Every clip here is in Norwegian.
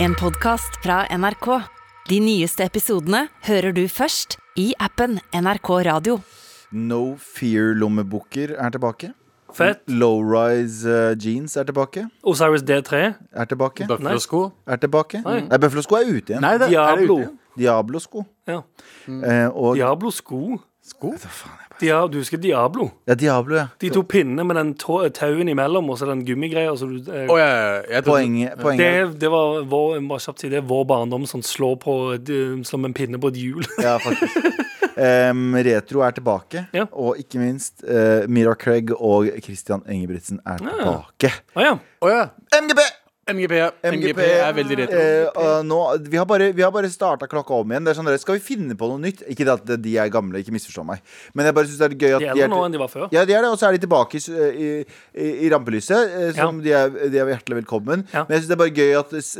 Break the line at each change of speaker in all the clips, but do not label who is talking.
En podcast fra NRK. De nyeste episodene hører du først i appen NRK Radio.
No Fear-lommeboker er tilbake.
Fett.
Low-rise eh, jeans er tilbake.
Osiris D3.
Er tilbake.
Bøflesko?
Er tilbake. Nei, Bøflesko er ute igjen.
Nei, det er
Diablo. Mm.
ute. igjen.
Diablo-sko.
Ja.
Eh, og ja.
Diablo sko.
Sko?
Dia du husker Diablo?
Diablo, ja.
De to pinnene med den tå tauen imellom og så den gummigreia. som du, eh,
Å, ja, ja, ja. Jeg trodde-
Poenget, poenget.
det, det var vår, jeg må bare kjapt si det, vår barndom som slår på eh, som en pinne på et hjul.
Ja, faktisk. Em, retro er tilbake.
Ja.
Og ikke minst eh, Mira Craig og Christian Engebretsen er tilbake.
Å ja.
Å, ja.
MGP!
MGP. MGP er veldig retro.
Eh, og nå, vi har bare, vi har bare starta klokka om igjen. Det er sånn, Skal vi finne på noe nytt? Ikke det at de er gamle, ikke misforstå meg. Men jeg bare synes det er gøy at
De er
de
eldre
er
nå enn de var før.
Ja, de er det, og så er de tilbake i, s- i, i, i rampelyset. eh, Som de, er, de er hjertelig velkommen.
Ja.
Men jeg synes det er bare gøy at s-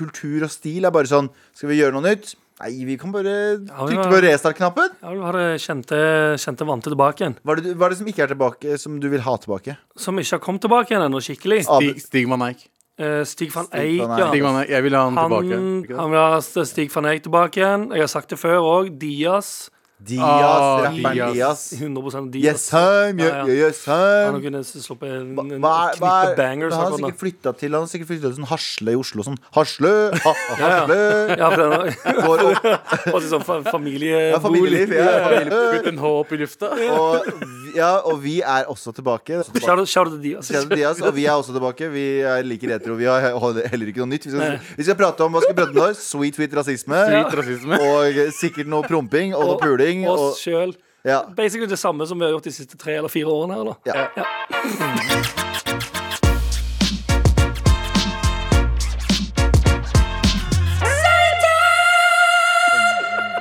kultur og stil er bare sånn Skal vi gjøre noe nytt? Nei, vi kan bare
Ja,
trykke
ja.
på restart-knappen.
Jeg vil ha det kjente, kjente vante tilbake igjen.
Hva er, det, du- hva er det som ikke er tilbake, som du vil ha tilbake?
Som ikke har kommet tilbake igjen ennå skikkelig.
Ah.
Stig, Stig van Eijk.
Eh, Stig van
Stig
Eijk,
van
ja.
Stig van Eijk. Jeg vil ha han
Han,
tilbake. Ikke
han
det?
vil ha Stig van Eijk tilbake igjen. Jeg har sagt det før òg. Diaz.
Dias,
Ah,
rapperen Dias.
Dias.
100 Diaz.
Yes, time,
Ja, ja.
yeah, yeah, yes,
Han
time.
kunne sluppet en,
Ehm, Hva-
en
hva er- hva er-
knippe bangers.
Han har
akkurat nå.
sikkert flytta til Han har sikkert flyttet til sånn Hasle i Oslo. Sånn Hasle, ha, ha,
Ja, ja.
Hasle
Ja, for den har
Går opp
Også sånn fa-
ja,
familiebolig.
familieliv. Ja, familieliv.
Putt en H opp i lufta.
Og, vi- ja, og vi er også tilbake.
Shout out- shout out til de, altså.
Kjell Diaz, og vi er også tilbake. Vi er like retro. Vi har he- heller ikke noe nytt. Vi skal, vi skal prate om hva skal vi prate om da? Sweet, sweet rasisme.
Litt rasisme.
Og sikkert noe promping og noe puling.
Oss
Og,
sjøl.
ja.
Basically det samme som vi har gjort de siste tre eller fire årene. her da
Ja.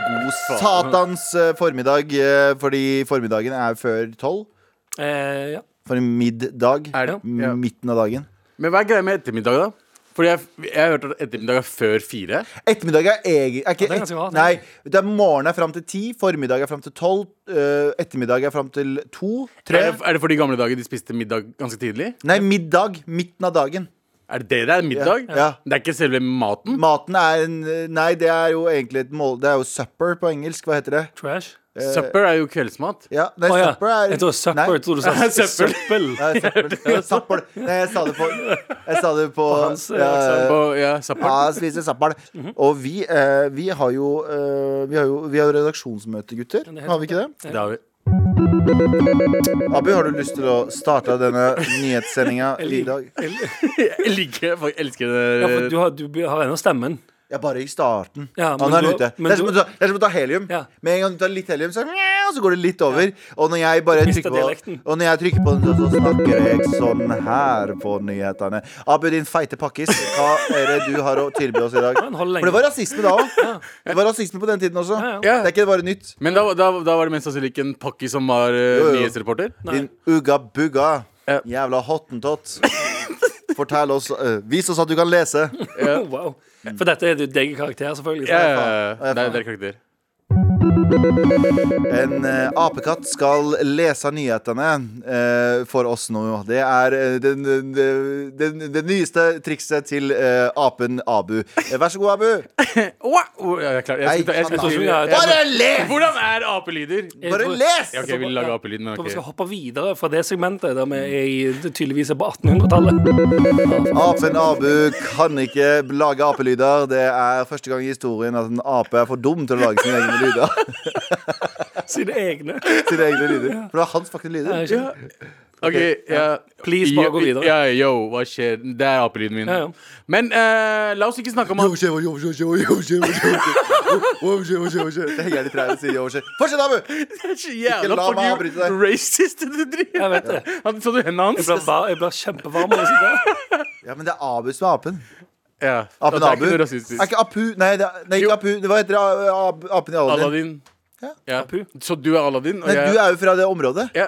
God satans eh, formiddag, eh, fordi formiddagen er før tolv.
Eh, ja.
For middag.
Er det? Ja.
Midten av dagen.
Men hva er greia med ettermiddag, da? Fordi jeg, jeg har hørt at ettermiddag er før fire.
Ettermiddag er egen... Er ikke,
Ja, det er ganske bra, det.
nei, det er morgen er fram til ti, formiddag er fram til tolv, øh, ettermiddag er fram til to, tre
Er det, er det fordi i gamle dager de spiste middag ganske tidlig?
Nei, middag. Midten av dagen.
Er det det det er middag?
Ja.
Det er ikke selve maten?
Maten er en Nei, det er jo egentlig et mål... Det er jo supper på engelsk. Hva heter det?
Trash.
eh,
Supper er jo kveldsmat.
Ja, nei,
Å, ja.
supper Eh, er
Jeg tror supper,
Nei.
jeg tror du sa
Søppel.
søppel.
Ja, supper. supper. Nei, jeg sa det på Jeg sa det på
hans, eh, Mhm.
ja,
På, ja, supper.
ja, spiser supper. Og vi, eh, vi har jo eh, Vi har jo vi har jo redaksjonsmøte, gutter.
det er helt
Har vi ikke det?
Det har vi.
Abu, har du lyst til å starte denne nyhetssendinga i dag?
Jeg liker Jeg elsker det.
Ja, for du har, du har ennå stemmen.
Ja, bare i starten.
Ja, men
Han er
du-
ute.
men
Det er som
du-
å ta- det er som å ta helium.
Ja.
Med en gang du tar litt helium, så, og så går det litt over. Og når jeg bare
mister
trykker på
dialekten.
Og når jeg trykker på den, så, så snakker jeg sånn her på nyhetene. Abu, din feite pakkis, hva er det du har å tilby oss i dag?
Han holder lenge.
For det var rasisme da òg. Det var rasisme på den tiden også.
Ja, ja.
Det er ikke bare nytt.
Men da, da, da var det mest sannsynlig ikke en pakki som var eh,
Jo, jo.
nyhetsreporter?
Nei.
Din ugga bugga.
Ja.
Jævla hottentott. Fortell oss eh, Vis oss at du kan lese.
Oh, wow. For dette er jo deg i karakter, selvfølgelig.
Ja,
Så.
ja,
faen. Ja,
ja. Det er-
faen.
det er karakter.
En eh, apekatt skal lese nyhetene eh, for oss nå. Det er eh, den, den, den, det nyeste trikset til eh, apen Abu. Eh, Vær så god, Abu.
Wow! Oh, ja, jeg er klar. Jeg skal,
Nei,
ta- jeg skal,
faen,
ta-
da.
jeg-
Bare les!
Hvordan er apelyder?
Jeg
Bare
tror-
les!
Ja, ok, jeg vil lage
Ja.
apelyd, men
Jeg tror vi skal
ok.
hoppe videre fra det segmentet der vi er i, tydeligvis er på 1800-tallet.
Apen Abu kan ikke lage apelyder. Det er første gang i historien at en ape er for dum til å lage sine egne lyder.
Sine egne.
Sine egne lyder For det var hans faktisk
Ja,
lyder.
ikke?
Ok, ja.
Please, bare gå
Yo-
videre.
Ja, yo, hva skjer? Det er apelyden min.
Ja, ja.
Men eh, la oss ikke snakke om at
Det henger litt trær og sier yo, shit. Fortsett, Abu! Ikke
Jævla
la meg avbryte
fucking
deg.
racist du
Jeg
driver
vet det.
Han- Så du hendene hans?
Jeg blir, var, jeg blir kjempevarm. av å si det.
Ja, men det er Abu som er apen.
Ja.
Apen
det er
Abu.
ikke noe
Er
rasistisk.
ikke Apu Nei, det er, nei
Jo.
ikke Apu. Det- Hva heter det? A- ab- apen i Aladdin?
Aladdin. Ja. Så du er Aladdin, og
Men
jeg
du er jo fra det området.
ja.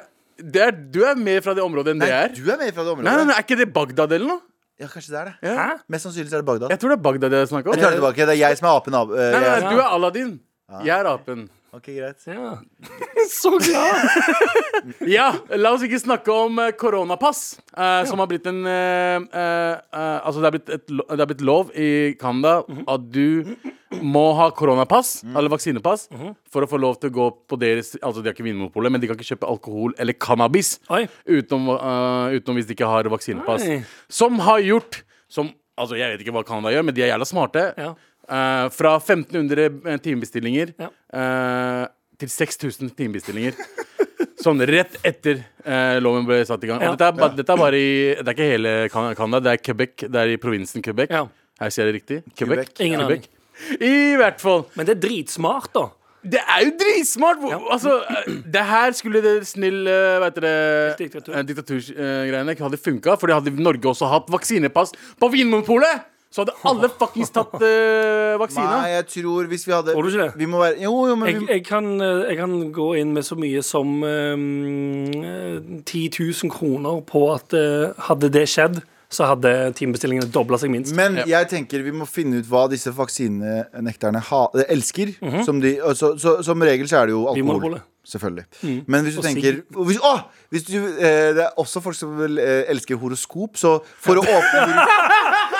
det er, Du er mer fra det området enn
Nei,
det er.
du er mer fra det området.
Nei, nei, nei, Er ikke det Bagdad eller noe?
Ja, kanskje det er det.
Ja.
Mest sannsynlig så er det Bagdad.
Jeg tror det er Bagdad jeg snakker om.
Jeg tar det tilbake. Det er jeg som er apen. Ab eh,
Nei, nei,
jeg-
nei, du er Aladdin. Jeg er apen.
Ok, greit.
Ja. Så glad!
Ja, la oss ikke snakke om eh, koronapass, eh, som har blitt en eh, eh, eh, Altså, det er blitt, et, lo- det er blitt lov i Canada at du må ha koronapass, eller vaksinepass, for å få lov til å gå på deres Altså, de har ikke Vinmonopolet, men de kan ikke kjøpe alkohol eller cannabis
Oi.
utenom, eh, utenom hvis de ikke har vaksinepass.
Nei.
Som har gjort som, Altså, jeg vet ikke hva Canada gjør, men de er jævla smarte.
Ja.
Eh, fra 1500 timebestillinger
Ja.
eh, til 6000 timebestillinger. Sånn rett etter eh, loven ble satt i gang.
Ja.
Og dette er, ba- dette er bare i Det er ikke hele Can- Canada, det er Quebec. Det er i provinsen Quebec.
Ja.
Her sier jeg det riktig? Quebec.
Quebec.
Ingen
Quebec. I hvert fall.
Men det er dritsmart, da.
Det er jo dritsmart! Hvor- Altså, eh, det her skulle det snill eh, Hva heter det Eh,
Diktatur.
Diktaturgreiene hadde funka. Fordi hadde Norge også hatt vaksinepass på Vinmonopolet, så hadde alle fuckings tatt eh,
Nei,
vaksina.
jeg tror hvis vi hadde
Tror du ikke det?
Vi må være Jo, jo, men
Jeg,
vi,
jeg, kan, eh, jeg kan gå inn med så mye som eh, um, 10 000 kroner på at eh, hadde det skjedd, så hadde timebestillingene dobla seg minst.
Men jeg tenker vi må finne ut hva disse vaksinenekterne ha, eh, elsker. som, de, og så, så, som regel så er det jo alkohol.
Vinmonopolet.
Selvfølgelig. Men hvis du
Og
tenker hvis, å, hvis du, eh, Det er også folk som vel, eh, elsker horoskop, så for å åpne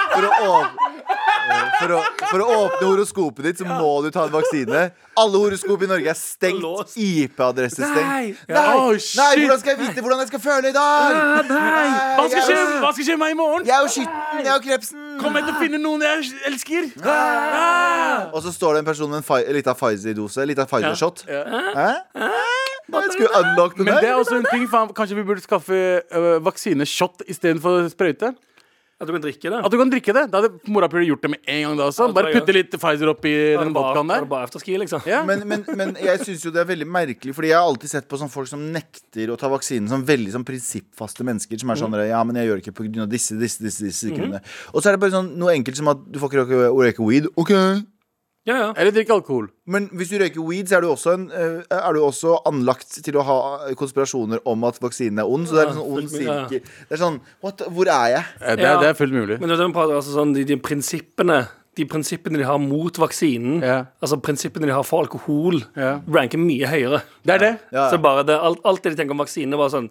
For å åpne eh, for å, for å åpne horoskopet ditt, så må du ta en vaksine. Alle horoskop i Norge er stengt.
Låst.
IP-adresse
Nei!
stengt.
Ja.
Å,
Nei,
shit.
hvordan skal jeg vite hvordan jeg skal føle i dag?
Nei!
Hva skal
jeg,
skje,
er jo-
hva skal skje med meg i morgen?
jeg er jo skitten, jeg er jo krepsen.
Kommer jeg til å finne noen jeg elsker?
Og så står det en person med en fi- lita Pfizer-dose. Lita Pfizer-shot.
Ja.
Hæ? Hva, jeg skulle unlock den
Men det er
der?
også en ting faen, Kanskje vi burde skaffe øh, vaksineshot istedenfor sprøyte?
At du kan drikke det?
At du kan drikke det. Da hadde morapuler gjort det med en gang. da også
Ja,
Bare
det er
putte litt Pfizer oppi
Er
den
det bare-
vodkaen
er
der.
det bare afterski, liksom?
Ja.
Men, men, men jeg syns jo det er veldig merkelig, Fordi jeg har alltid sett på sånn folk som nekter å ta vaksinen som veldig sånn prinsippfaste mennesker. Som er
Mm.
sånn Ja, men jeg gjør det ikke pga. disse, disse, disse, disse grunnene. Og så er det bare sånn noe enkelt som at du får ikke røyke, røyke weed. Ok
Ja, ja.
Eller drikke alkohol.
Men hvis du røyker weed, så er du også, en, eh, er du også anlagt til å ha konspirasjoner om at vaksinen er ond. Så det er en sånn ond
fullt mulig, ja.
sirkel. Det er sånn what, Hvor er jeg?
Eh, Det,
Ja.
er- det er fullt mulig.
Men det er det vi prater, altså sånn, de, de prinsippene De prinsippene de har mot vaksinen,
Ja.
altså prinsippene de har for alkohol,
Ja.
ranker mye høyere.
Det er det.
Ja,
Så bare det, alt, alt det de tenker om vaksine, var sånn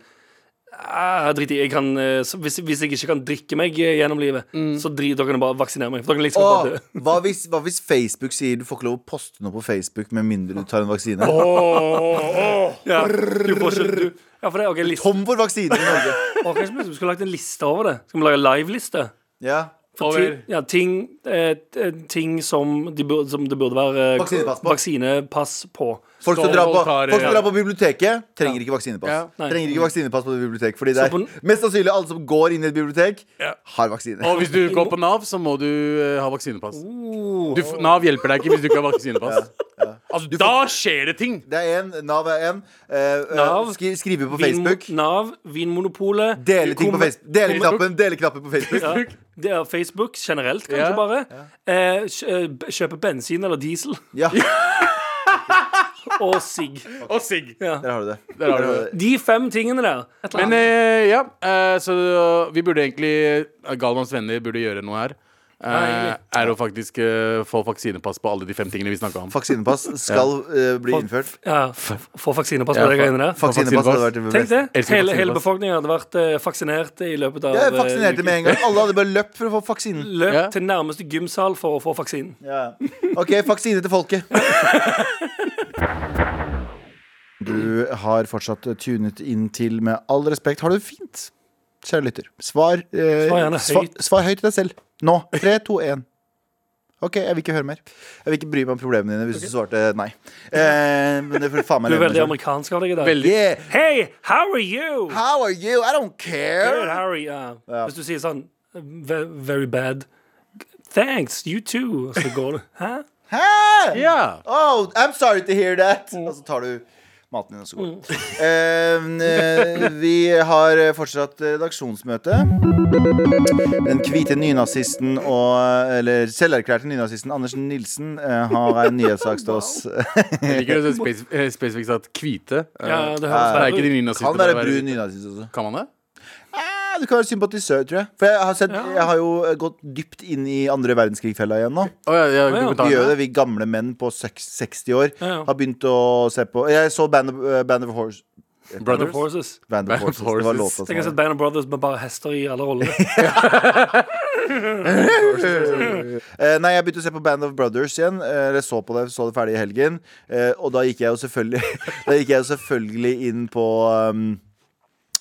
«Ah, Drit i, jeg kan eh, så hvis, hvis jeg ikke kan drikke meg eh, gjennom livet,
Mm.
så drit dere kan bare vaksinere meg. For dere kan liksom
Åh,
bare dø.
hva, hvis, hva hvis Facebook sier du får ikke lov å poste noe på Facebook med mindre du tar en vaksine?
Ja, du får ikke, du, ja, for det, ok, liste.
Tom for vaksine i Norge.
Å, kanskje vi skulle lagt en liste over det? Skal vi lage live-liste?
Ja.
For
Over-
ti- ja, ting, eh, t- eh, ting som, de burde, som det burde være eh,
Vaksinepass på.
vaksinepass på.
Folk som
Stål
drar på,
tar-
folk som drar på biblioteket, trenger ikke
Ja.
vaksinepass.
Nei.
Trenger ikke vaksinepass på bibliotek Fordi det
Så på
er
den-
mest sannsynlig alle som går inn i et bibliotek,
Ja.
har vaksine.
Og hvis du går på Nav, så må du eh, ha vaksinepass. Du, f- Nav hjelper deg ikke hvis du ikke har vaksinepass. Altså, da skjer det ting!
Det er én. Nav er én.
Nav.
skri, skrive på
Vinmo-
Facebook.
Nav, Vinmonopolet
Dele ting på
kommer-
Facebook. Deleknappen deleknappen på Facebook.
Ja, det er Facebook generelt, kanskje
Ja.
bare. Eh, kj- eh, b- kjøpe bensin eller diesel
Ja,
og sigg.
Og sigg.
der har du det.
Der har du det.
De fem tingene der. Et eller
Men
annet.
eh, ja, eh, så vi burde egentlig eh, Galvans venner burde gjøre noe her. Eh,
Ja, egentlig.
er å faktisk eh, få vaksinepass på alle de fem tingene vi snakka om.
Vaksinepass skal eh, bli
Folk-
innførrt.
Ja, f- få vaksinepass
Ja,
på de
fa-
greiene der.
Vaksinepass hadde vært det
Tenk
beste.
det.
Elsker
Hele, hele
vaksinepass.
befolkningen hadde vært eh, vaksinert i løpet av
Jeg
eh,
vaksinerte
uken.
med en gang. Alle hadde bare løpt for å få vaksinen.
Løp
Ja.
til nærmeste gymsal for å få vaksinen.
Ja. OK, vaksine til folket. Du har fortsatt tunet inn til Med all respekt, har du det fint? Kjære lytter. Svar, eh,
Svar gjerne
sva-
høyt.
svar høyt til deg selv. Nå. Tre, to, én. OK, jeg vil ikke høre mer. Jeg vil ikke bry meg om problemene dine hvis du svarte nei. Eh, men det får faen meg
Du
leve med
er veldig
selv.
amerikansk av deg i dag.
Veldig.
Yeah.
Hey, how are you?
How are you? I don't
Good,
care.
how are you? Ja. Hvis du sier sånn ve- Very bad. Thanks, you too. Og så går du. Hæ?
Hæ?
Ja.
Oh, I'm sorry to hear that.
Mm.
Og så tar du maten din, og så går du. Eh, eh, vi har fortsatt redaksjonsmøte. Den hvite nynazisten og Eller selverklærte nynazisten Andersen Nilsen eh, har en nyhetssak til oss.
Jeg liker det så spes- eh, spesifikt at hvite. eh,
Ja, det
det
høres
er
verre
ikke
ut.
de nynazister.
Kan være
det er-
brun nynazist også.
Kan man det?
Eh, Ja, du kan være sympatisør, tror jeg. For jeg har, sett, jeg har jo eh, gått dypt inn i andre verdenskrig-fella igjen nå.
Å, ja, ja,
Å, ja.
Vi
dokumentaren.
gjør det, vi gamle menn på seks- 60 år
Ja, ja.
har begynt å se på Jeg så Band of, eh, Band of Horse
Brothers.
Brothers.
Forces.
Band of
Band of
Horses. Sånn Det var
Horses.
låta
Tenk å se
som var
Band of Brothers med bare hester i alle roller.
Eh, Nei, jeg begynte å se på Band of Brothers igjen. Eh, Jeg så på det, så det ferdig i helgen. Eh, Og da gikk jeg jo selvfølgelig Da gikk jeg jo selvfølgelig inn på um,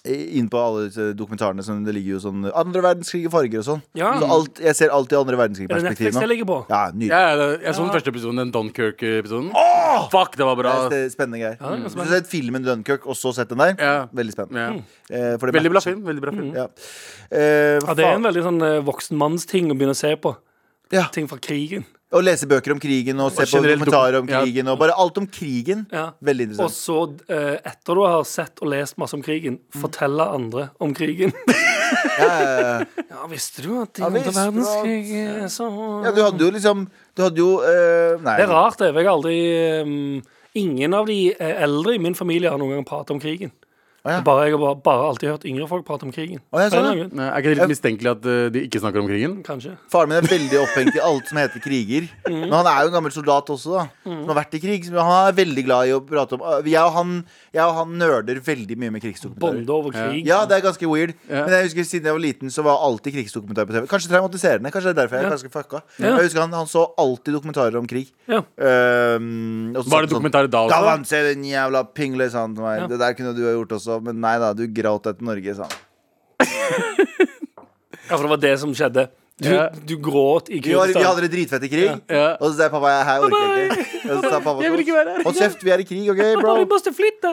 inn på alle disse dokumentarene som det ligger jo sånn Andre verdenskrig i farger og sånn.
Ja.
Så alt, jeg ser alltid andre
Ah. Er det Netflix det
verdenskrig-perspektivene.
ligger på?
Ja, nydelig.
Ja, ja, det- jeg så den første episoden, den Dunkirk-episoden. Fuck, det var bra.
Det er spennende greier.
det er ganske
Hvis du har sett filmen Dunkirk og så sett den der,
Ja.
veldig spennende.
Ja.
Eh, for det
Veldig bra
matcher.
film. veldig bra film
Ja. Eh,
Ja, det er en
faen.
veldig sånn eh, voksen manns-ting å begynne å se på.
Ja.
Ting fra krigen.
Å lese bøker om krigen og se
Og
på
generelt
dokumentarer om
dokum- ja.
krigen og bare alt om krigen.
Ja.
Veldig interessant.
Og så, eh, etter du har sett og lest masse om krigen,
Mm.
fortelle andre om krigen. ja, visste du at i
Ja,
andre
visste du at-
verdenskrig eh, så
Ja, du hadde jo liksom Du hadde jo eh, Nei.
Det er rart, det. for Jeg har aldri ehm, Ingen av de eh, eldre i min familie har noen gang pratet om krigen.
ja.
Bare, jeg har bare, bare alltid hørt yngre folk prate om krigen.
Å, ja,
På en
sånn,
eller annen grunn.
Nei, er ikke det litt mistenkelig at eh, de ikke snakker om krigen?
Kanskje.
Faren min er veldig opphengt i alt som heter kriger. Men han er jo en gammel soldat også, da. Som har vært i krig. Så han er veldig glad i å prate om Eh, Jeg og han, jeg og han nerder veldig mye med krigsdokumentarer.
Bonde over krig.
Ja, det er ganske weird.
Ja.
Men jeg husker siden jeg var liten, så var alltid krigsdokumentarer på TV. Kanskje traumatiserende. Kanskje det er derfor jeg er ganske fucka. Jeg husker han, han så alltid dokumentarer om krig.
Ja.
Ehm, og så
Var det
sånn-
dokumentarer da også?
Ja, han ser den jævla pingle, sa han til meg.
Ja.
Det der kunne du ha gjort også, men nei da, du gråt etter Norge, sa han.
Ja, for det var det som skjedde. Du,
Ja.
du gråt i
Vi, var, vi
Kurdistan.
hadde det dritfett i krig,
Ja.
og så sa jeg, pappa, jeg her orker jeg ikke. Og så sa pappa sånn,
Jeg vil ikke være her.
Hold kjeft, vi er i krig, OK,
Ja, vi
bro?
måste flytte!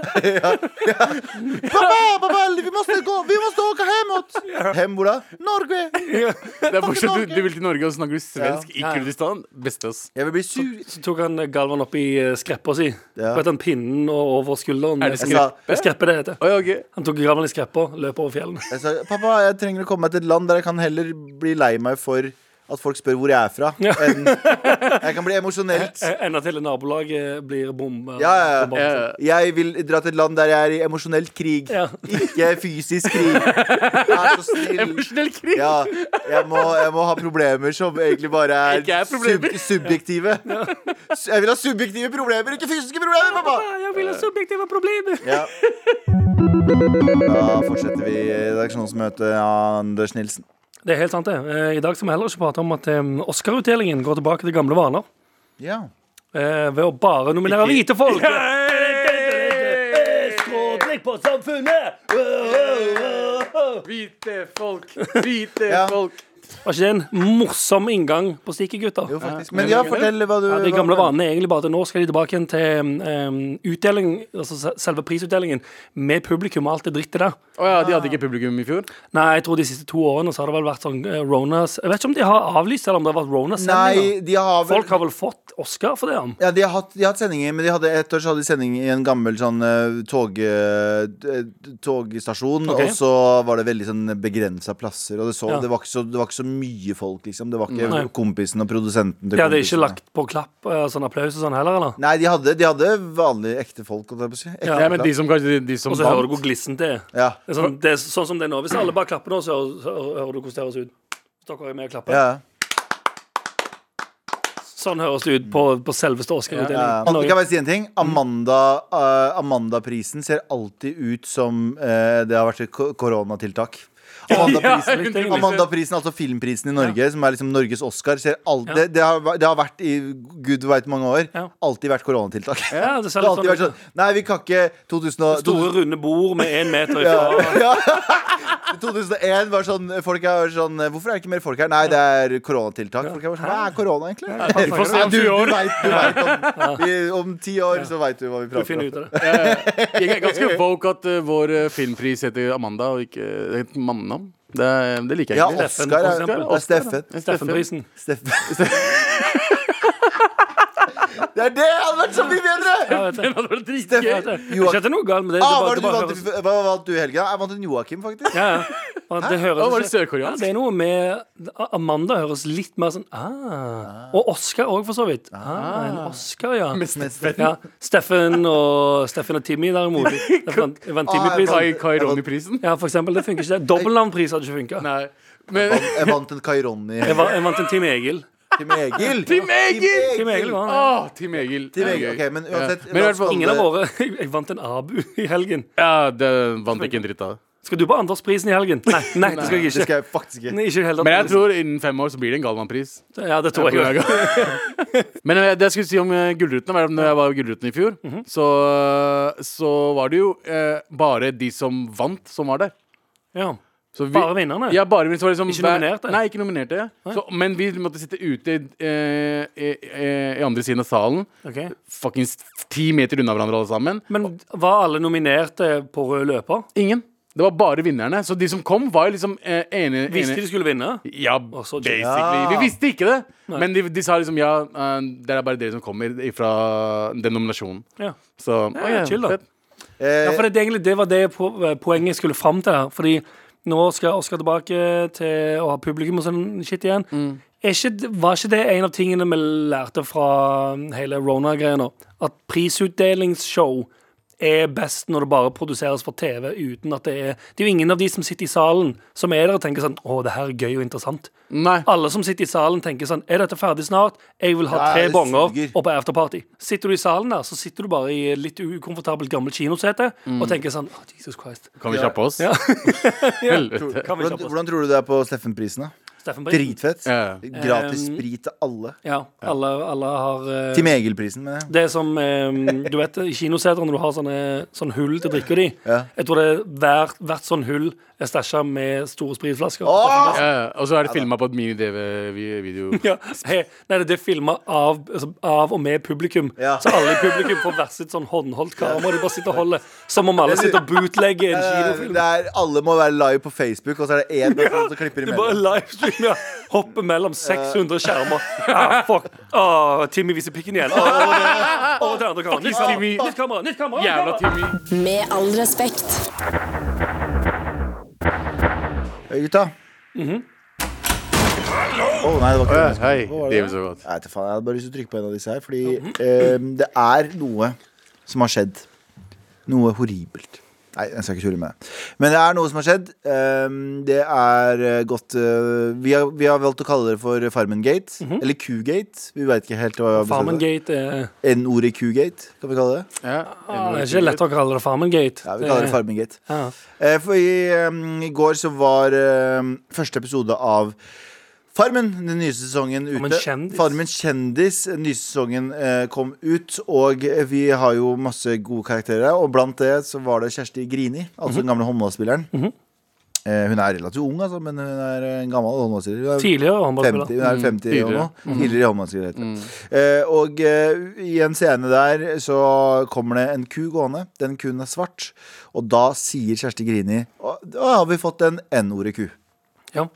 Pappa, pappa, vi måste gå, vi måste åke hemåt! Hem hvor da? Norge!
Det er fortsatt, du, du vil til Norge, og så snakker du svensk
Ja, ja.
i Kurdistan. Beste, ass.
Jeg vil bli sur.
Så tok han eh, Galvan opp i eh, skreppa si.
Ja.
På et av pinnen og over skulderen.
Er det
Jeg sa,
Det er skreppe det heter.
Å, ja, ok.
Han tok Galvan i skreppa, løp over fjellene.
Jeg sa, pappa, jeg trenger å komme meg til et land der jeg kan heller bli lei meg for at folk spør hvor jeg er fra.
Ja.
Enn, jeg kan bli emosjonelt.
Eh, Enda til nabolaget blir bomba.
Ja, ja, ja.
Eh,
Jeg vil dra til et land der jeg er i emosjonelt krig,
Ja.
ikke fysisk krig. Jeg er så snill.
Emosjonell krig!
Ja, jeg må, jeg må ha problemer som egentlig bare er,
Ikke er problemer.
subjektive. Jeg vil ha subjektive problemer, ikke fysiske problemer, pappa!
Jeg vil ha subjektive problemer!
Ja. Da fortsetter vi redaksjonsmøtet av Anders Nilsen.
Det er helt sant, det. Eh, I dag skal vi heller ikke prate om at eh, Oscar-utdelingen går tilbake til gamle vaner.
Ja.
eh, Ved å bare nominere hvite folk. Skråblikk på samfunnet!
Hvite folk, hvite
Ja.
folk.
Var ikke det en morsom inngang på Stikke, gutter?
Jo, faktisk. Men ja, fortell hva du
Ja, de
hva-
gamle vanene er egentlig bare at nå skal de tilbake igjen til um, utdeling, altså se- selve prisutdelingen, med publikum og alt det drittet der.
Å ja, de hadde
Ah.
ikke publikum i fjor?
Nei, jeg tror de siste to årene så har det vel vært sånn eh, Ronas Jeg vet ikke om de har avlyst, eller om det har vært Ronas-sendinger.
Nei, de har vel
Folk har vel fått Oscar for det? om
ja, de, har hatt, de har hatt sendinger, men de hadde et år så hadde de sending i en gammel sånn eh, tog, eh, t- togstasjon.
Ok.
Og så var det veldig sånn begrensa plasser. Og det, så,
Ja.
det, var ikke så, det var ikke så mye folk, liksom. Det var ikke
Nei.
kompisen og produsenten til
De hadde ikke
kompisen.
lagt på klapp eh, sånn applaus og sånn heller, eller?
Nei, de hadde, de hadde vanlige ekte folk, holdt jeg på å si. Ekte
Ja, men de som kanskje de, de som
Og så hører du
vant.
hvor glissent det er.
Ja.
Det er sånn, det er sånn som det er nå. Hvis alle bare klapper nå, så hører, så hører- hører du hvordan det høres ut. Hvis dere er med og klapper.
Ja.
Sånn høres det ut på, på selveste
Ja.
Oscar-utdelingen.
Kan
Norge.
jeg bare si en ting?
Mm.
Amanda, eh, Amanda-prisen ser alltid ut som eh, det har vært et ko- koronatiltak. Amanda-prisen
litt
hundre prosent.
Amanda-prisen, altså filmprisen i Norge, som er liksom Norges Oscar, ser alt, det, det, har, væ- det har vært i gud veit mange år.
Ja.
Alltid vært koronatiltak.
Ja, det ser
Det har
litt
alltid vært
sånn
sånn Nei, vi kan ikke 2000 og-
liksom Store, runde bord med én meter ifra.
ja. 2001 var sånn Folk er sånn Hvorfor er det ikke mer folk her? Nei, det er koronatiltak. Folk er bare sånn, Hva er korona, egentlig?
Vi får se om
du,
ti år.
du vet, du vet om, vi- om ti år så veit du hva vi
Du
prater om.
finner ut av det.
Jeg er ganske woke at eh, vår eh, filmpris heter Amanda, og ikke eh, et mannenavn. Det, er- det liker jeg
Ja,
ikke.
Oscar
for
er,
eksempel.
er Steffen.
Steffenprisen.
Steffen. Det er det! Hadde vært så mye bedre!
Ja, vet du.
Det var dritgøy.
Jeg vet
Steffen.
det. Ikke at det er noe galt med det. det
Ah, hva, var det
bare- det
du
bare
vant,
høres-
hva vant du i helga? Jeg vant en Joakim, faktisk.
Ja, ja. Og det høres
Å, var
ikke-
det
Ja,
sørkoreansk?
det er noe med Amanda høres litt mer sånn ah. Og Oscar òg, for så vidt. Ah, en Oscar, ja. ja. Steffen og, Steffen og Timmy, derimot. Jeg vant, Ah, jeg vant Timmy-prisen.
Kai, Kai Ronny-prisen?
Ja, for eksempel. Det funker ikke. det. Dobbeltnavnpris hadde ikke funka.
Nei. Men
Jeg vant en Kaironi.
Jeg, va- jeg vant en Team Egil.
Team Egil!
Team Egil!
Team Egil var han.
Åh, Team Egil.
Team
Det er
Egil,
gøy.
ok, men uansett,
Men i hvert fall
la oss
Ingen av våre Jeg vant en Abu i helgen.
Ja, det vant ikke en dritt av det.
Skal du på Andersprisen i helgen? Nei, nei, det skal jeg
Det
ikke.
skal jeg faktisk ikke.
Nei, ikke heller,
Men jeg tror innen fem år så blir det en Galvan-pris.
Ja, det tror jeg òg.
Men eh, det jeg skulle si om eh, Gullruten var at Når jeg var i Gullruten i fjor,
Mhm.
så, så var det jo eh, bare de som vant, som var der.
Ja.
Så vi-
Bare vinnerne?
Ja, bare vi- så var det liksom,
Ikke nominerte?
Nei, ikke nominerte. Så, men vi måtte sitte ute eh, i, i, i andre siden av salen,
Ok.
fuckings ti meter unna hverandre alle sammen.
Men var alle nominerte på rød løper?
Ingen. Det var bare vinnerne. Så de som kom, var jo liksom eh, ene,
Visste
ene
de skulle vinne?
ja,
så
basically.
kjipt.
Ja.
Vi visste ikke det. Men de, de sa liksom ja, eh, det er bare dere som kommer fra den nominasjonen.
Ja.
Så å ja,
chill da.
fett.
Eh,
Ja, for det, det, er egentlig, det var det po- poenget jeg skulle fram til her. Fordi nå skal Oskar tilbake til å ha publikum og sånn shit igjen. Er ikke, det- var ikke det en av tingene vi lærte fra hele Rona-greia nå? At prisutdelingsshow er best når det bare produseres for TV uten at det er Det er jo ingen av de som sitter i salen, som er der og tenker sånn Å, det her er gøy og interessant.
Nei.
Alle som sitter i salen tenker sånn Er dette ferdig snart? Jeg vil ha
Ja,
tre
det
bonger
suger.
og på afterparty Sitter du i salen der, så sitter du bare i litt ukomfortabelt gammelt kinosete Og tenker sånn «Å, Jesus Christ
Kan vi kjappe oss? Helvete.
Kan
Hvordan,
vi kjappe oss?
hvordan tror du det er på Steffen-prisen? da?
Steffen Brink
Dritfett.
Ja.
Gratis
Um,
sprit til alle.
Ja, alle, alle har eh,
Team Egil-prisen, mener jeg.
Det er som, eh, du vet, i kinoseter når du har sånne, sånn hull til drikker de
Ja.
Jeg tror det er hvert, hvert sånn hull er stasjet med store spritflasker
Åh!
Ja, og så er det filma på et mini-DV-video.
ja, hei, nei, det er filmet av, altså, av og med publikum
Ja.
Så alle i publikum får hvert sitt sånn håndholdt kamera Og de bare sitter og holder Som om alle sitter og bootlegger en
Eh,
kinofilm
Det er, alle må være live på Facebook, og så er det én person som klipper
Du bare
imellom.
livestreamer ja. Hopper mellom 600 skjermer
Eh.
ah, Fuck ah, Timmy viser pikken igjen Over til det andre kamera Nytt
Timmy.
kamera, Nytt kamera, nytt kamera
Jævla
nytt kamera.
Timmy.
Med all respekt.
Hei, gutta.
Mhm.
Å nei, det var ikke det. jeg skulle-
Hei.
Hva var
Det
det?
er jo så godt.
Nei, til faen, Jeg hadde bare lyst til å trykke på en av disse her, fordi eh, det er noe som har skjedd. Noe horribelt. Nei, jeg skal ikke tulle med det. Men det er noe som har skjedd. Eh, det er eh, gått eh, vi, har, vi har valgt å kalle det for Farmengate. Eller Q-gate. Vi veit ikke helt hva
Farmengate er
N-ordet Q-gate, kan vi kalle det.
Ja.
eh, Ah, Det er ikke lett å kalle det Farmengate
Ja, vi kaller det Farmengate.
ja.
Eh, For i, um, i går så var um, første episode av Farmen, den nye sesongen ute.
Farmen kjendis.
Farmen kjendis, den nye sesongen eh, kom ut. Og vi har jo masse gode karakterer, og blant det så var det Kjersti Grini, altså den gamle håndballspilleren. Eh, hun er relativt ung, altså, men hun er eh, en gammel håndballspiller. Hun er
Tidligere
50,
håndballspiller
hun er
Mm.
50 år nå. Tidligere håndballspiller. heter det. Eh, og eh, i en scene der så kommer det en ku gående. Den kuen er svart. Og da sier Kjersti Grini Å, da har vi fått en N-ordet ku.
ja.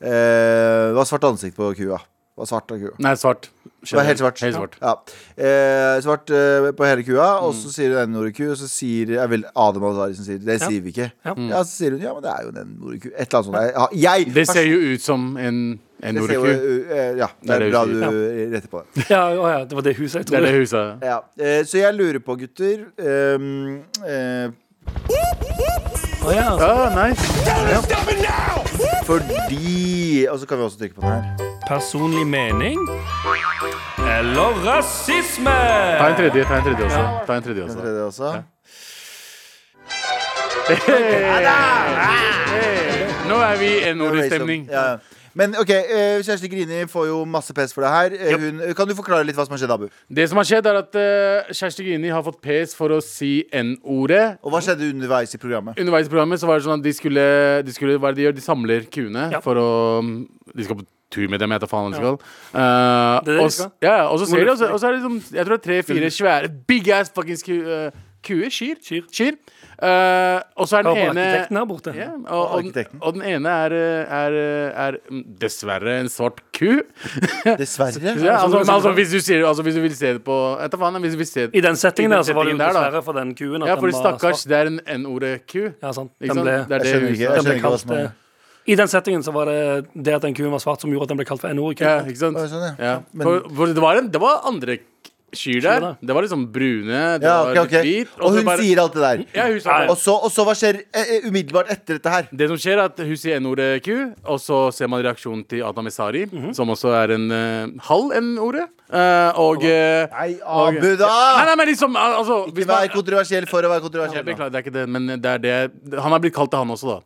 Eh, det var svart ansikt på kua. Det var svart av kua.
Nei, svart.
Det var helt svart.
Helt svart. Mm.
Ja. Eh, svart eh, på hele kua, og så sier hun N-ordet ku, og så sier jeg vil, Adam Azari som sier det.
Ja.
sier vi ikke.
Ja.
Ja. så sier hun ja, men det er jo en N-ordet ku. Et eller annet sånt. Jeg, jeg,
Mm. Det ser jo ut som en, en
det ser
oreku.
jo, eh, Ja, det
Det er
er
det
bra
hun
du
sier.
retter på det.
Ja, å ja, det var det huset jeg
Det er
trodde
det huset.
Ja, eh, så jeg lurer på, gutter ehm, eh,
Å ja,
Ja, nice.
Fordi Og så kan vi også trykke på den her.
Personlig mening Eller rasisme
Ta en tredje, ta en tredje også. Ta en tredje
Den
også.
tredje også.
Nå er vi i N-ordet-stemning.
liksom- Ja, ja. Men OK, eh, Kjersti Grini får jo masse pes for det her. Eh, Hun, kan du forklare litt hva som har skjedd, Abu?
Det som har skjedd, er at eh, Kjersti Grini har fått pes for å si N-ordet.
Og hva skjedde underveis i programmet?
Underveis i programmet så var det sånn at de skulle, de skulle Hva er det de gjør? De samler kuene
Ja.
for å mm, De skal på tur med dem, jeg vet da faen hva de skal. Eh,
Det er det de
og s-
skal.
ja, og så
Hvor
ser de, og så,
er-
og så er det liksom Jeg tror det er tre-fire svære big ass fuckings ku, eh, Kuer? Kyr?
Kyr.
Eh, og så er den
Hør på
ene
arkitekten her borte.
Ja, og, og, den-
Arkitekten.
og den ene er, eh, er, er mm, dessverre en svart ku.
Dessverre.
Ja, altså, men altså, hvis, du sier, altså, hvis du vil se det på Jeg vet da faen, hvis du vil se
I den settingen der så var det jo
settingen der, da.
dessverre for den kuen at
Ja, fordi
den var
stakkars,
svart.
det er en n-ordet ku.
Ja, sant.
Ikke
Den
sant?
ble,
Det
Jeg
er det
skjønner
huset.
ikke. Jeg
den ble
skjønner ikke hva
kalt
som er
eh, I den settingen så var det det at den kuen var svart som gjorde at den ble kalt for NO-ku.
Ja, ikke sant?
Å, sånn, ja.
ja.
Men-
for, for det, var en, det var andre k- kyr der.
da.
Det var liksom brune, det
Ja,
var
ok, ok.
litt hvit.
Og
så
hun
bare-
sier alt det der.
ja, hun sa det.
Og så, og så hva skjer eh, eh, umiddelbart etter dette her?
Det som skjer, er at hun sier n-ordet ku, og så ser man reaksjonen til Adam Esari,
Mhm.
som også er en eh, halv n-ordet. Eh, og eh,
Nei,
og-
Abu,
Nei,
da!
nei, men liksom al- altså, hvis
Ikke vær
man,
kontroversiell for å være
Jeg
kontroversiell. da.
Beklager, det er ikke det, men det er det Han har blitt kalt det, han også, da.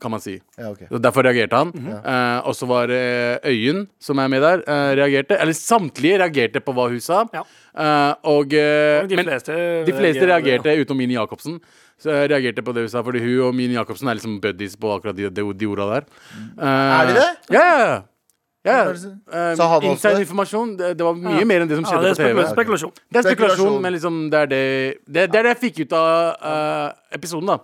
Kan man si.
Ja, ok.
Og Derfor reagerte han.
Mhm.
Eh, og så var det Øyen, som er med der, eh, reagerte. Eller samtlige reagerte på hva hun sa.
Ja.
Eh, og eh,
De fleste,
de fleste
reagerer.
reagerte, utenom Mini Jacobsen. Så jeg reagerte på det hun sa, fordi hun og Mini Jacobsen er liksom buddies på akkurat de, de, de orda der. Eh,
Er de det?
Ja, ja, ja. ja.
Hva er det som- Sa han
Uh,
også
Intern
det?
informasjon. Det, det var mye
Ja.
mer enn det som
Ja,
skjedde
det er
på TV.
spekul- spekulasjon.
Det er spekulasjon,
Spekulasjon.
men liksom det er det, det, det, er det jeg fikk ut av eh, episoden, da.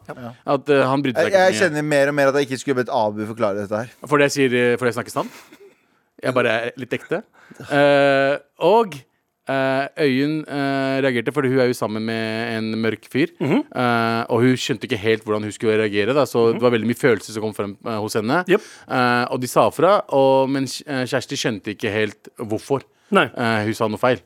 At eh, han brydde seg
Jeg,
ikke
jeg
så mye.
kjenner mer og mer at jeg ikke skulle bedt Abu forklare dette her.
Fordi jeg, sier, eh, fordi jeg snakker sant. Jeg bare er litt ekte. Eh, og eh, Øyunn eh, reagerte, fordi hun er jo sammen med en mørk fyr. Eh, og hun skjønte ikke helt hvordan hun skulle reagere, da, så det var veldig mye følelser som kom frem eh, hos henne.
Jep.
Eh, og de sa fra, og, men eh, Kjersti skjønte ikke helt hvorfor
Nei.
eh, hun sa noe feil.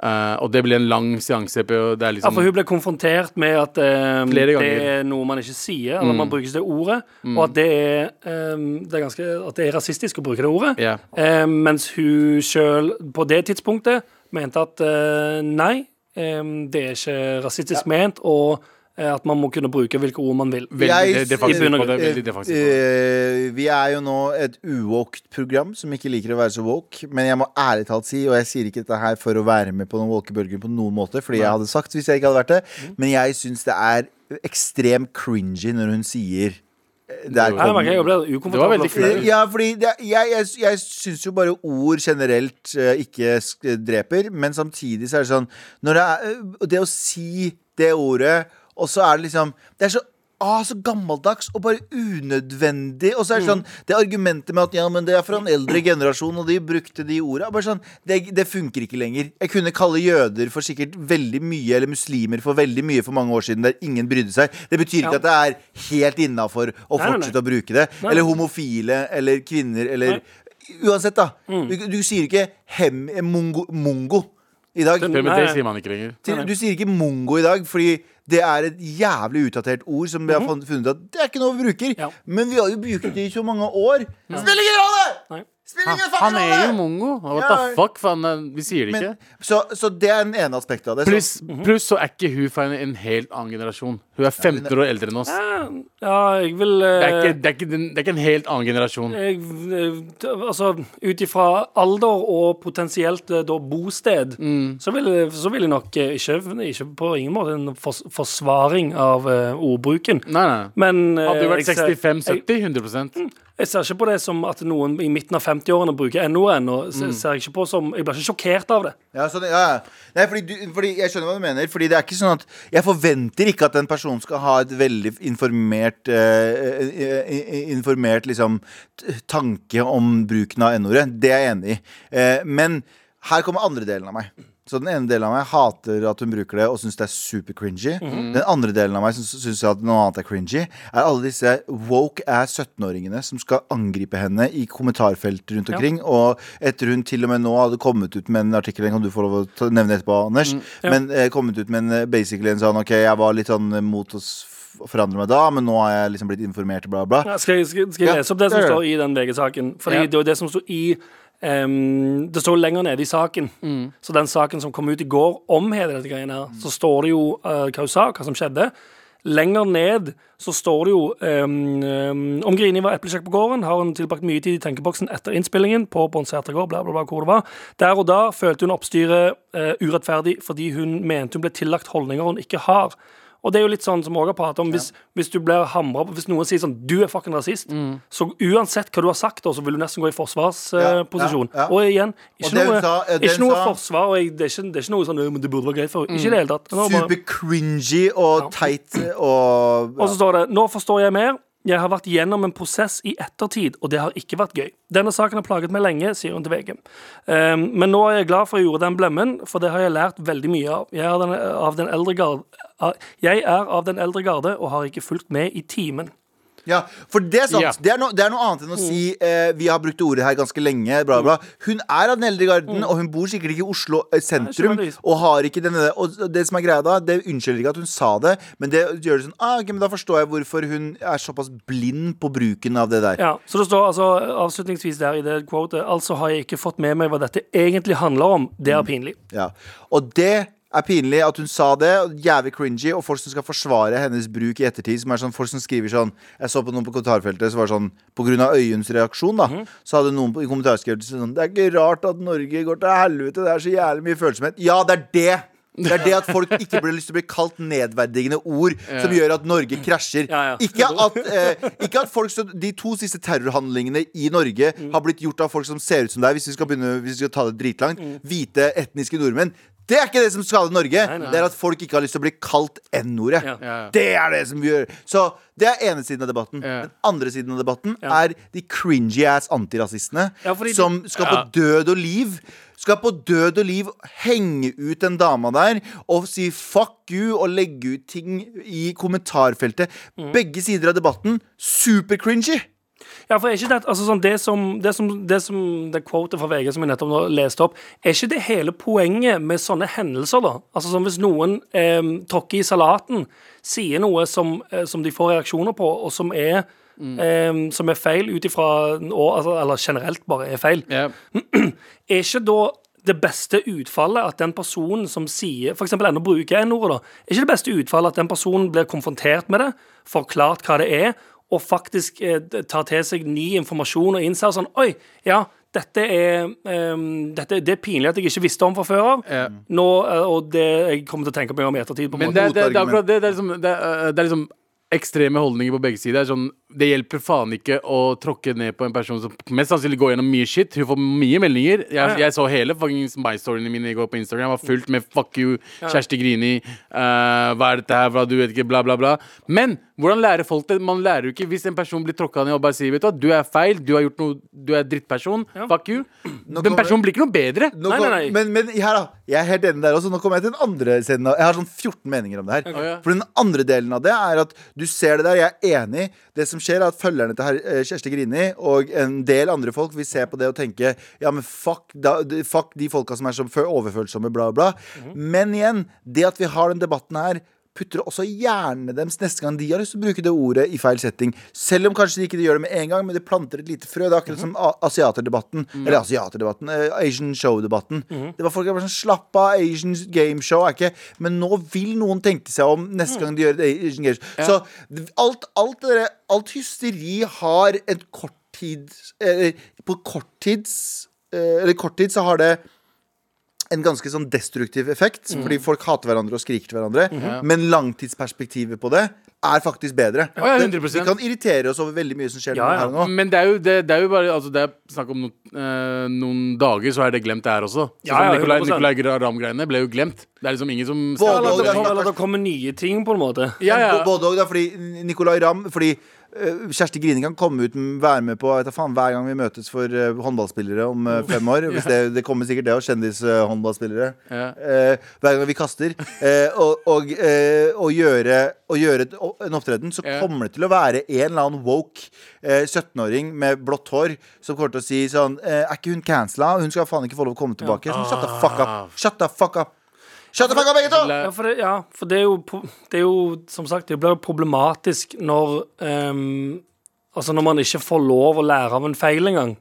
Eh, og det ble en lang seanse. På, det er liksom,
Ja, for hun ble konfrontert med at eh,
Flere
det
ganger. Mm.
er noe man ikke sier, eller man brukes det ordet, og at det er, eh, det, er ganske, at det er rasistisk å bruke det ordet.
liksom- Ja.
Eh, mens hun sjøl på det tidspunktet mente at eh, nei, eh, det er ikke rasistisk ment, og eh, at man må kunne bruke hvilke ord man vil.
Veldig
Jeg-
i
defensivt
bunn
på
og
det. Veldig
Eh,
defensivt på det.
eh, vi er jo nå et uwokt program som ikke liker å være så woke. Men jeg må ærlig talt si, og jeg sier ikke dette her for å være med på den woke bølgen på noen måte, fordi jeg hadde sagt hvis jeg ikke hadde vært det,
Mm.
men jeg syns det er ekstremt cringy når hun sier eh, Der
Nei,
kom
men jeg ble
Det var
ukomfortabel.
veldig
og flau.
flaut.
ja, fordi det, jeg, jeg, jeg syns jo bare ord generelt eh, ikke sk- dreper, men samtidig så er det sånn når det, er, eh, det å si det ordet, og så er det liksom Det er så Ah, så gammeldags og bare unødvendig. Og så er det sånn
Mm.
Det argumentet med at ja, men det er fra en eldre generasjon, og de brukte de orda. Bare sånn, det, det funker ikke lenger. Jeg kunne kalle jøder for sikkert veldig mye, eller muslimer for veldig mye for mange år siden, der ingen brydde seg. Det betyr
Ja.
ikke at det er helt innafor å
Nei, nei, nei.
fortsette å bruke det.
Nei.
Eller homofile eller kvinner eller Uansett, da.
Mm.
Du, du sier ikke hem, eh, mongo, mongo i dag.
Men
Nei.
det sier man ikke lenger.
Til- Du sier ikke mongo i dag, fordi det er et jævlig utdatert ord som vi har fun- funnet ut at det er ikke noe vi bruker.
Mhm. Ja.
Men vi har jo brukt det i så mange år. Spiller ingen rolle!
Nei.
Spiller
Han,
ingen
han
fucking
er jo
rolle!
mongo. What
Ja.
the fuck? Faen, eh, vi sier det
Men,
ikke.
så, så det er den ene aspektet av det. Så-
Pluss
Mhm.
pluss så er ikke hun fra en- en helt annen generasjon. Hun er 15 år eldre enn oss.
Ja, jeg vil
Det er,
eh,
ikke, det, er ikke, den- det er ikke en helt annen generasjon.
jeg, eh, altså, ut ifra alder og potensielt eh, da, bosted, så, vil, så vil jeg nok eh, ikke, ikke på ingen måte en fors forsvaring av eh, ordbruken.
Nei, nei.
Men eh,
Hadde hun vært
jeg, Mm. ser,
65-70, 100
jeg ser ikke på det som at noen i midten av 50-årene bruker NO ennå. Mm. Ser jeg ikke på som Jeg blir ikke sjokkert av det.
Ja, sånn, ja. ja. Nei, fordi, du, fordi Jeg skjønner hva du mener. Fordi det er ikke sånn at Jeg forventer ikke at en person skal ha et veldig informert eh, eh, eh, Informert liksom t- tanke om bruken av n-ordet. Det er jeg enig i. Eh, men her kommer andre delen av meg. Så den ene delen av meg hater at hun bruker det og syns det er super cringy. Den andre delen av meg som syns at noe annet er cringy, er alle disse woke ass 17-åringene som skal angripe henne i kommentarfelt rundt omkring. Og etter hun til og med nå hadde kommet ut med en artikkel, den kan du få lov å ta- nevne etterpå, Anders, men eh, kommet ut med en eh, basically en sånn OK, jeg var litt sånn eh, mot å s- forandre meg da, men nå har jeg liksom blitt informert, bla, bla.
Ja, skal jeg, skal, skal jeg
Ja,
lese opp det som
gjør det.
står i den VG-saken? Fordi
Ja.
det er jo det som står i ehm, Det står lenger nede i saken. Så den saken som kom ut i går om hele dette greiene her, så står det jo eh, hva hun sa, hva som skjedde. Lenger ned så står det jo ehm, ehm, Om Grini var eplekjekk på gården, har hun tilbrakt mye tid i tenkeboksen etter innspillingen på Bonseter gård, bla, bla, bla, hvor det var. Der og da følte hun oppstyret eh, urettferdig fordi hun mente hun ble tillagt holdninger hun ikke har. Og det er jo litt sånn som Åge har pratet om. Hvis, hvis du blir hamra på Hvis noen sier sånn 'du er fucking rasist',
Mm.
så uansett hva du har sagt, da, så vil du nesten gå i
Ja,
forsvarsposisjon.
ja, ja.
Og igjen,
Og
ikke
det hun
noe,
sa- eh, det
ikke
hun
noe
sa-
forsvar. Og jeg, det, er ikke, det er ikke noe sånn «Øy, men 'det burde være greit for'. Ikke i det hele tatt. Det var bare-
Super cringy og teit og
Og så står det Nå forstår jeg mer. Jeg har vært gjennom en prosess i ettertid, og det har ikke vært gøy. Denne saken har plaget meg lenge, sier hun til VG. Ehm, men nå er jeg glad for jeg gjorde den blemmen, for det har jeg lært veldig mye av. Jeg er, den, av den eldre garde, av- jeg er av den eldre garde og har ikke fulgt med i timen.
Ja, for det er sant.
Ja.
Det, er no, det er noe annet enn å si eh, Vi har brukt det ordet her ganske lenge. Bla, bla. Hun er av den eldre garden, og hun bor sikkert ikke i Oslo eh, sentrum.
Nei, ikke nødvendigvis.
Og har ikke denne Og det som er greia da, det unnskylder ikke at hun sa det, men det gjør det sånn ah, ok, men Da forstår jeg hvorfor hun er såpass blind på bruken av det der.
Ja, så det står altså avslutningsvis der i det quotet Altså har jeg ikke fått med meg hva dette egentlig handler om. Det er pinlig.
Ja. Og det er pinlig at hun sa det. og Jævlig cringy. Og folk som skal forsvare hennes bruk i ettertid. Som er sånn, folk som skriver sånn Jeg så på noen på kommentarfeltet som var sånn På grunn av Øyunns reaksjon, da.
Mhm.
Så hadde noen på- i kommentarskrevet sånn Det er ikke rart at Norge går til helvete. Det er så jævlig mye følsomhet. Ja, det er det! Det er det at folk ikke burde lyst til å bli kalt nedverdigende ord som gjør at Norge krasjer.
Ja, ja.
Ikke at, eh, ikke at folk som, de to siste terrorhandlingene i Norge
Mm.
har blitt gjort av folk som ser ut som deg, hvis vi skal, begynne, hvis vi skal ta det dritlangt.
Mm.
Hvite, etniske nordmenn. Det er ikke det som skader Norge. Det er at folk ikke har lyst til å bli kalt N-ordet.
Ja.
Ja, ja.
Det er det som gjør Så det er ene siden av debatten.
Ja.
Den andre siden av debatten
Ja.
er de cringy ass antirasistene
Ja, fordi de-
som skal på død og liv. Skal på død og liv henge ut den dama der og si fuck you og legge ut ting i kommentarfeltet.
Mm.
Begge sider av debatten super-cringy.
Ja, for er ikke det, altså sånn, det som Det som, det som det quotet fra VG som jeg nettopp nå leste opp, er ikke det hele poenget med sånne hendelser, da? Altså sånn Hvis noen eh, tråkker i salaten, sier noe som, eh, som de får reaksjoner på, og som er eh, som er feil ut ifra og- altså, Eller generelt bare er feil.
Ja.
Er ikke da det beste utfallet at den personen som sier For eksempel ennå bruker jeg N-ordet, da. Er ikke det beste utfallet at den personen blir konfrontert med det, forklart hva det er, og faktisk eh, tar til seg ny informasjon og innser sånn Oi, ja. Dette er, ehm, dette, det er pinlig at jeg ikke visste om fra før av.
Ja.
Nå, eh, og det jeg kommer til å tenke på meg om i ettertid. På en
Men
måte.
det, er- det, er- det er
Motargument.
akkurat det. Det er liksom, det er, eh, det er liksom ekstreme holdninger på begge sider. Det er Sånn, det hjelper faen ikke å tråkke ned på en person som mest sannsynlig går gjennom mye shit. Hun får mye meldinger. Jeg, jeg så hele fuckings my storyene mine i går på Instagram. Jeg var fullt med fuck you, Kjersti Grini, eh, hva er dette her, hva du vet ikke, bla, bla, bla. Men hvordan lærer folk det? Man lærer jo ikke hvis en person blir tråkka ned og bare sier vet du hva, du er feil, du har gjort noe, du er drittperson, fuck you. Den
kommer-
personen blir ikke noe bedre.
Nå
Nei,
kom,
nei, nei.
Men, men her da, jeg er helt enig der også. Nå kommer jeg til den andre siden. av- Jeg har sånn 14 meninger om det her.
Ok.
For den andre delen av det er at du ser det der, jeg er enig. Det som skjer, er at følgerne til herr- eh, Kjersti Grini og en del andre folk vil se på det og tenke ja, men fuck, da, de- fuck de folka som er så fø- overfølsomme, bla, bla.
Mhm.
Men igjen, det at vi har den debatten her putter også hjernene deres neste gang de har lyst til å bruke det ordet i feil setting. Selv om kanskje de ikke gjør det med en gang, men de planter et lite frø. Det er akkurat som a- asiaterdebatten. Eller asiaterdebatten, eh, Asian show-debatten. Det var Folk som var sånn slapp av, Asian game show er ikke Men nå vil noen tenke seg om neste gang de gjør et Asian game show. Så alt, alt, det der, alt hysteri har en korttids... Eller på korttids... eh, Eller korttid så har det en ganske sånn destruktiv effekt, fordi folk hater hverandre og skriker til hverandre. Men langtidsperspektivet på det er faktisk bedre.
Ja, ja,
Det-
100%.
Vi kan irritere oss over veldig mye som skjer
Ja, Mm. ja.
her og nå.
Men det er jo, det, det er jo bare altså det er snakk om noen, eh, noen dager, så er det glemt det her også. Så
Ja,
som
ja,
Nicolai,
100%.
Nicolai Gram-greiene ble jo glemt. Det er liksom ingen som
Både
Eller
og,
at
det
det
er
kommer-
snakk-
eller det kommer nye ting, på en måte.
Ja, ja.
B- Både og, da, fordi Nicolay Ramm Fordi eh, Kjersti Grine kan komme ut m- være med på jeg vet da faen, hver gang vi møtes for eh, håndballspillere om eh, fem år. Hvis det, det kommer sikkert det òg. Kjendishåndballspillere.
Mm. Ja.
Eh, hver gang vi kaster. eh, og, og, eh, og gjøre, og gjøre et, o- en opptreden, så
Ja.
kommer det til å være en eller annen woke eh, 17-åring med blått hår som kommer til å si sånn eh, Er ikke hun cancela? Hun skal faen ikke få lov å komme tilbake. Sånn, Shut the fuck
Ah.
up! Shut the fuck up! Shut the fuck up, begge to!
Ja, for, det, ja, for det, er jo, pro- det er jo Som sagt, det blir jo problematisk når ehm, Altså når man ikke får lov å lære av en feil engang.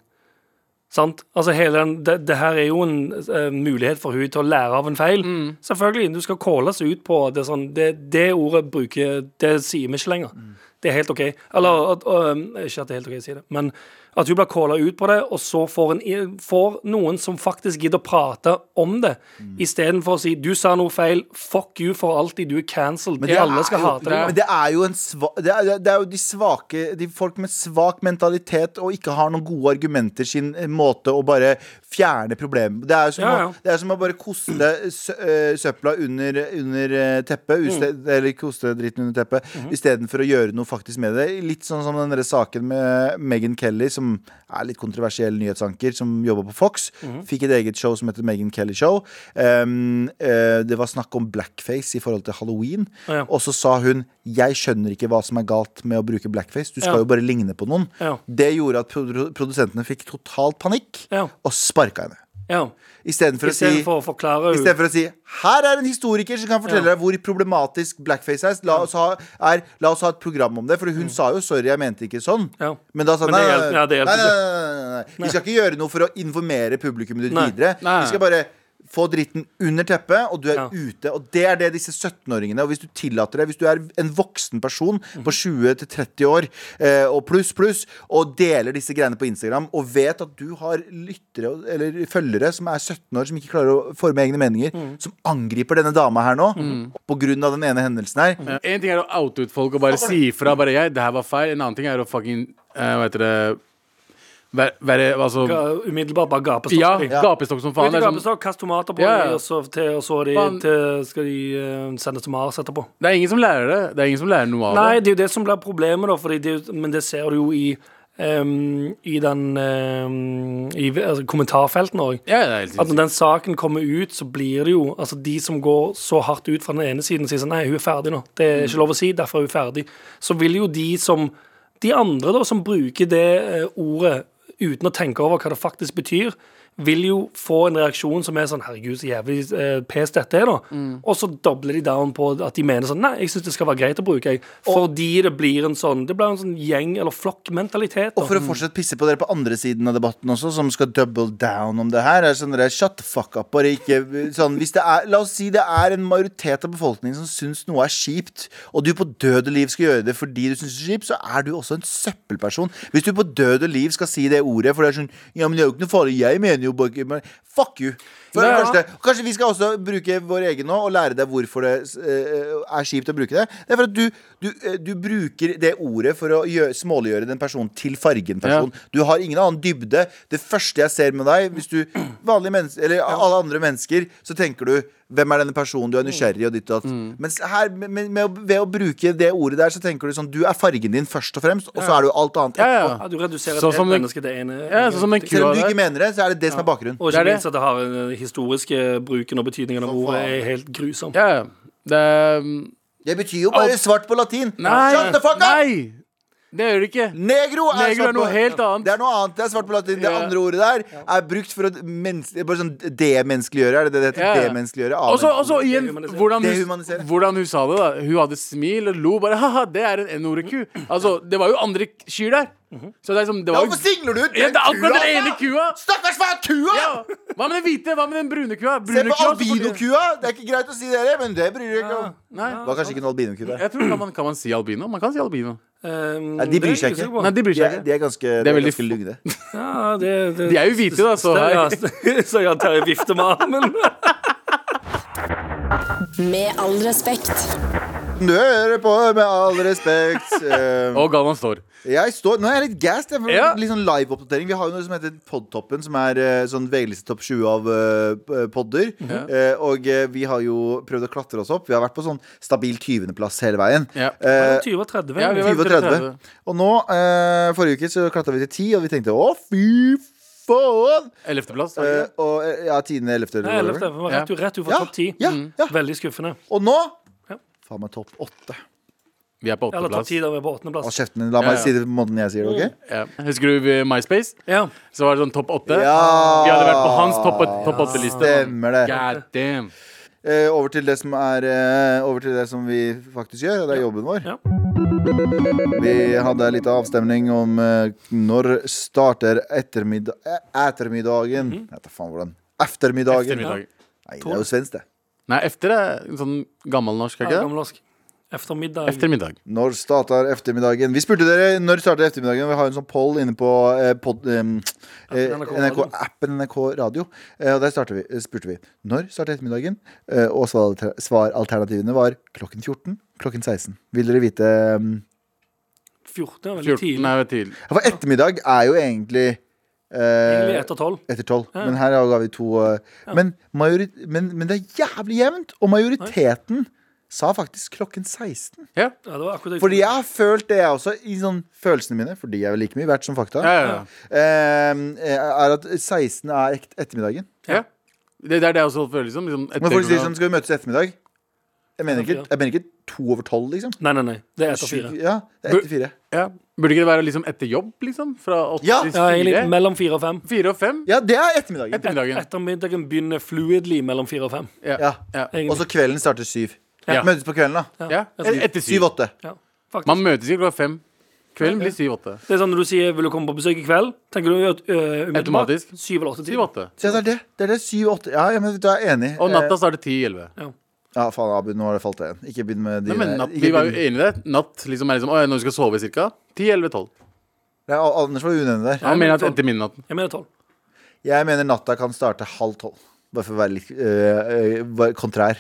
Sant? Altså hele den, det, det her er jo en eh, mulighet for hun til å lære av en feil.
Mm.
Selvfølgelig. Du skal calles ut på at det, er sånn, det, det ordet
Mm.
bruker Det sier vi ikke lenger. Det er helt OK. Eller at- og, ehm, ikke at det er helt OK å si det, men At hun blir calla ut på det, og så får, en, i- får noen som faktisk gidder å prate om det,
Mm.
istedenfor å si 'du sa noe feil', 'fuck you for alltid', 'du er cancelled',
det
alle
er
skal
jo-
hate deg.
Men det er jo en sva, det, er, det er jo de svake De folk med svak mentalitet og ikke har noen gode argumenter sin eh, måte å bare fjerne problemet Det er jo som,
Ja, ja.
Å, det er som å bare koste sø, eh, søpla under, under eh,
Mm.
teppet, uste, eller koste dritten under teppet,
Mhm.
istedenfor å gjøre noe faktisk med det. Litt sånn som den der saken med Meghan Kelly, som er litt kontroversiell nyhetsanker, som jobber på Fox.
Mhm.
Fikk et eget show som heter Meghan Kelly Show. Um, eh, det var snakk om blackface i forhold til halloween.
Ja.
Og så sa hun 'Jeg skjønner ikke hva som er galt med å bruke blackface'. Du skal jo
Ja.
bare ligne på noen.
Ja.
Det gjorde at produ produsentene fikk total panikk,
Ja.
og sparka henne.
Ja.
Istedenfor å si
Istedenfor å forklare
i
henne.
stedet for å si her er en historiker som kan fortelle deg hvor problematisk blackface er. La oss, ha, er. La oss ha et program om det. For hun sa jo 'sorry, jeg mente ikke sånn'.
Mm. Ja.
Men da sa hun
Men
nei,
det
nei,
hjelper-
nei,
ja, det
nei,
hjelper
nei, nei, nei, nei. Vi skal ikke gjøre noe for å informere publikummet ditt
Nei.
videre.
Nei.
Vi skal bare få dritten under teppet, og du er
Ja.
ute. Og det er det disse 17-åringene Og hvis du tillater det, hvis du er en voksen person på 20-30 år eh, og pluss, pluss, og deler disse greiene på Instagram, og vet at du har lyttere og- eller følgere som er 17 år, som ikke klarer å forme egne meninger, som angriper denne dama her nå, på grunn av den ene hendelsen her.
En ting er å oute ut folk og bare si ifra. Bare jeg, det her var feil. En annen ting er å fucking eh, Hva heter det Være, være altså
Ga- Umiddelbart bare gapestokk.
Ja,
Ja.
gapestokk som faen.
Ut i
Det er, sånn,
gapestokk, kast tomater på
Ja, ja.
dem, og så, til, og så de,
Faen.
til, skal de eh, sende til Mars etterpå.
det er ingen som lærer det. Det er ingen som lærer noe av
Nei,
det.
det er jo det som blir problemet, da. Fordi det, er jo- men det ser du jo i, ehm, i den ehm, I altså, kommentarfeltene òg.
Ja, det er helt
At når
sinnssykt.
den saken kommer ut, så blir det jo Altså De som går så hardt ut fra den ene siden og sier sånn Nei, hun er ferdig nå. Det er ikke lov å si. Derfor er hun ferdig. Så vil jo de som De andre da som bruker det eh, ordet uten å tenke over hva det faktisk betyr, vil jo få en reaksjon som er sånn Herregud, så jævlig eh, pes dette er, da.
Mm.
Og så dobler de down på at de mener sånn Nei, jeg syns det skal være greit å bruke, jeg. Fordi det blir en sånn Det blir en sånn gjeng- eller flokkmentalitet. da.
Og for å fortsatt pisse på dere på andre siden av debatten også, som skal double down om det her, er sånn dere shut the fuck up. Bare ikke sånn hvis det er, La oss si det er en majoritet av befolkningen som syns noe er kjipt, og du på døde liv skal gjøre det fordi du syns det er kjipt, så er du også en søppelperson. Hvis du på døde liv skal si det ordet, for det er sånn Ja, men det er jo ikke noe farlig, jeg mener jo bare men Fuck you. For det
Ja.
første, og Kanskje vi skal også bruke vår egen nå og lære deg hvorfor det eh, er kjipt å bruke det. Det er for at du, du, eh, du bruker det ordet for å gjø- småliggjøre den personen til fargen person. Du har ingen annen dybde. Det første jeg ser med deg, hvis du vanlige mennesker, eller alle andre mennesker, så tenker du hvem er denne personen? Du er nysgjerrig og ditt og datt.
Mm.
Mens her, med, med, med, å- ved å bruke det ordet der, så tenker du sånn Du er fargen din først og fremst, og så er du alt annet.
Ja, ja.
ja, du reduserer
Sånn
et
som
helt
den-
menneske til ene
ja, sånn som den
Selv
kua
om du ikke
der.
mener det, så er det det som er bakgrunnen.
Og
Det er
ikke
det.
minst at det har den historiske eh, bruken og betydningen av ordet er helt grusom.
Ja, ja. det er-
Det betyr jo bare
Alt-
svart på latin. Shut the
Nei!
fuck up!
Nei! Det gjør det ikke.
Negro er,
Negro
svart
er noe
på-
helt annet.
Det er noe annet, det er svart på latin. Det
Ja.
andre ordet der er brukt for å mens- det er bare sånn demenneskeliggjøre. Er det det det heter?
Ja, ja.
Demenneskeliggjøre.
Og så-
avmenneskeliggjøre.
Og så igjen
Dehumanisere.
hvordan hun,
Dehumanisere.
hvordan hun sa det. da Hun hadde smil og lo bare. Haha, det er en N-ordet-ku. Altså, det var jo andre k- kyr der. Så det er som, det
Ja,
var jo
Hvorfor singler du ut
ja,
den
Det er akkurat
kua,
den ene
da?
kua!
Stakkars faen, kua!
Ja. Hva med den hvite? Hva med den brune kua?
Se
Brune
på
kua, så får de-
albinokua! Det er ikke greit å si dere, men det bryr dere ikke om.
Nei.
Det var kanskje ikke en albinoku der.
Jeg tror kan man, kan man si albino? Man kan si albino.
Um,
Nei, de bryr seg
det er jeg
ikke.
usikker på.
Nei, de bryr
De
seg
er,
ikke.
de er ganske, de er
veldig
ganske lugne.
Ja, det, det,
De er jo hvite, da, så
det- ja,
her.
Så ja, Terje vifter med armen.
Med all respekt.
Du hører på, med all respekt. eh,
Og Galvan står.
Jeg står, nå er jeg litt gassed. Jeg får
Ja.
Litt sånn live-oppdatering. Vi har jo noe som heter Podtoppen, som er eh, sånn VG-liste topp 20 av eh, podder.
Mhm.
Eh, og eh, vi har jo prøvd å klatre oss opp. Vi har vært på sånn stabil 20.-plass hele veien.
Ja.
Eh,
20 og 30,
Ja, vi
vel?
var-
20 og 30. Og nå, eh, forrige uke, så klatra vi til 10, og vi tenkte å, fy faen!
Ellevteplass.
Eh,
takk.
og eh, ja, 10., 11., eller
Nei,
whatever.
11. Vi var rett, rett utenfor
Ja,
topp 10.
ja, ja.
Veldig skuffende.
Og nå
Ja.
Faen meg topp 8.
Vi er på
Eller topp 10,
åtteplass.
da vi er på
Hold
åttendeplass.
kjeften din. La meg
Ja, ja.
si det på måten jeg sier det, OK?
Ja. Husker du vi- MySpace?
Ja.
Så var det sånn topp åtte.
Ja.
Vi hadde vært på hans topp- topp åtte-liste.
Stemmer det.
God damn.
Eh, over til det som er eh, Over til det som vi faktisk gjør, og det er jobben vår.
Ja.
Vi hadde en liten avstemning om eh, når starter ettermiddag, eh, ettermiddagen Jeg vet da faen hvordan. Eftermiddagen.
Mhm. Eftermiddag.
Nei, det er jo svensk, det.
Nei, efter er sånn gammelnorsk, er
ja
ikke det?
gammelnorsk. Eftermiddag.
Eftermiddag.
Når starter eftermiddagen? Vi spurte dere når starter eftermiddagen. og Vi har en sånn poll inne på eh, pod, eh, eh,
NRK
NRK,
Radio.
appen NRK Radio. Eh, og der starter vi, eh, spurte vi når starter eftermiddagen. Eh, og svaralter- svaralternativene var klokken 14, klokken 16. Vil dere vite eh,
14 er veldig
14
tidlig.
er tidlig.
For ettermiddag er jo egentlig
Egentlig
eh,
etter tolv.
etter tolv.
Ja.
Men her ga vi to eh, men, majorit, men, men det er jævlig jevnt! Og majoriteten sa faktisk klokken 16.
Ja.
Ja, det var akkurat det.
Fordi jeg har følt det, jeg også, i sånn følelsene mine, fordi jeg er vel like mye verdt som fakta,
Ja, ja,
eh, er at 16 er ekt- ettermiddagen.
ja. ja. Det, det er det jeg også føler liksom. liksom
Når folk sier sånn,
ettermiddag.
skal vi møtes i ettermiddag? Jeg mener ikke, jeg mener ikke to over tolv, liksom.
Nei, nei, nei. Det er etter fire.
Ja, det er etter fire.
ja. Burde ikke det være liksom etter jobb, liksom? Fra åtte
Ja.
til
Ja, egentlig
fire?
mellom fire og fem.
Fire og fem?
Ja, det er ettermiddagen.
Ettermiddagen.
Ettermiddagen begynner fluidly mellom fire og fem.
Ja.
Ja.
Og
Egentlig.
så kvelden starter syv.
Ja.
Møtes på kvelden, da.
Ja.
Etter-
Etter syv.
Syv-åtte.
Ja, faktisk.
Man møtes ikke klokka fem. Kvelden blir syv-åtte.
Det er sånn når du sier 'vil du komme på besøk i kveld', tenker du at øh, umiddelbart
Automatisk.
syv eller åtte timer.
Syv-åtte.
Så det er det. Det er det syv-åtte. Ja, ja, men vet du, jeg er enig.
Og natta
Eh,
starter ti-elleve.
Ja, faen, Abu, nå har det falt igjen. Ikke begynn med de
Men
der-
natt,
ikke
vi var jo
begynn-
enige i det. Natt liksom er liksom å, ja, når du skal sove ca. 10-11-12.
Nei, Al- Anders var uenig der.
Han mener at etter midnatten.
Jeg mener tolv.
Jeg mener natta kan starte halv tolv. Bare for å være litt øh, øh, bare kontrær.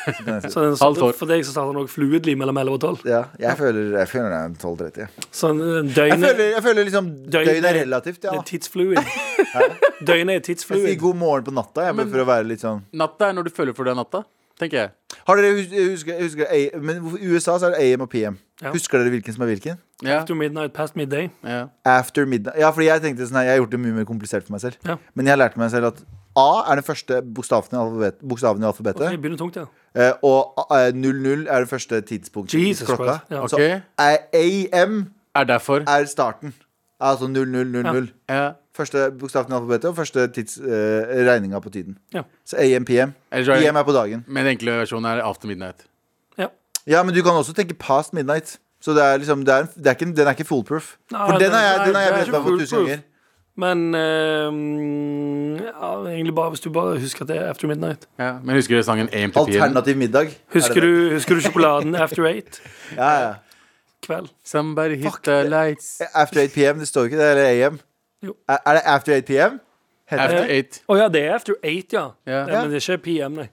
Så den
Halvt
starter,
år.
for deg så starter den også fluidly mellom 11 og 12.
Ja, jeg, føler, jeg føler det er en 12.30.
Så en
Jeg føler,
døgnet
jeg føler liksom døgn er relativt,
det
ja.
er tidsfluid. Døgnet er
Jeg sier
tidsfluid.
god morgen på natta jeg, bare for å være litt sånn
Natta er når du føler for deg natta, tenker jeg.
Har dere hus- husker, husker, A- Men hvorfor- I USA så er det AM og PM.
Ja.
Husker dere hvilken som er hvilken?
Ja,
After midnight, past midday.
ja.
After midnight. Ja, fordi jeg tenkte sånn her, jeg har gjort det mye mer komplisert for meg selv.
Ja.
Men jeg har lært meg selv at A er den første bokstaven i, alfabet, bokstaven i alfabetet.
Det begynner tungt, ja.
eh, Og eh, 00 er det første tidspunktet i
Jesus
klokka.
Christ, ja.
Så
Ok.
eh, AM
Er derfor.
er starten. Altså 0000.
Ja.
Første bokstaven i alfabetet og første tids, eh, regninga på tiden.
Ja.
Så AM, PM.
Ellers er det-
PM er på dagen.
Men den enkle versjonen er after midnight.
ja.
Ja, men du kan også tenke past midnight. Så det er liksom, det er, en- det er ikke, den er ikke foolproof.
Nei,
For den har
den-
jeg, den har jeg
Ah, nei,
brent
den er
meg på
ikke
tusen
foolproof.
ganger.
Men øh, ja, egentlig bare hvis du bare husker at det er after midnight.
Ja. Men husker du sangen AM to PM?
Alternativ middag.
Husker du, husker du sjokoladen after eight?
Ja, ja.
Kveld.
Somebody hit the lights.
After 8 PM, det står ikke det. Eller AM.
Jo.
Er, er det after 8 PM?
After eight
Å ja, det er after eight, ja. ja.
Ja.
Men det er ikke PM, nei.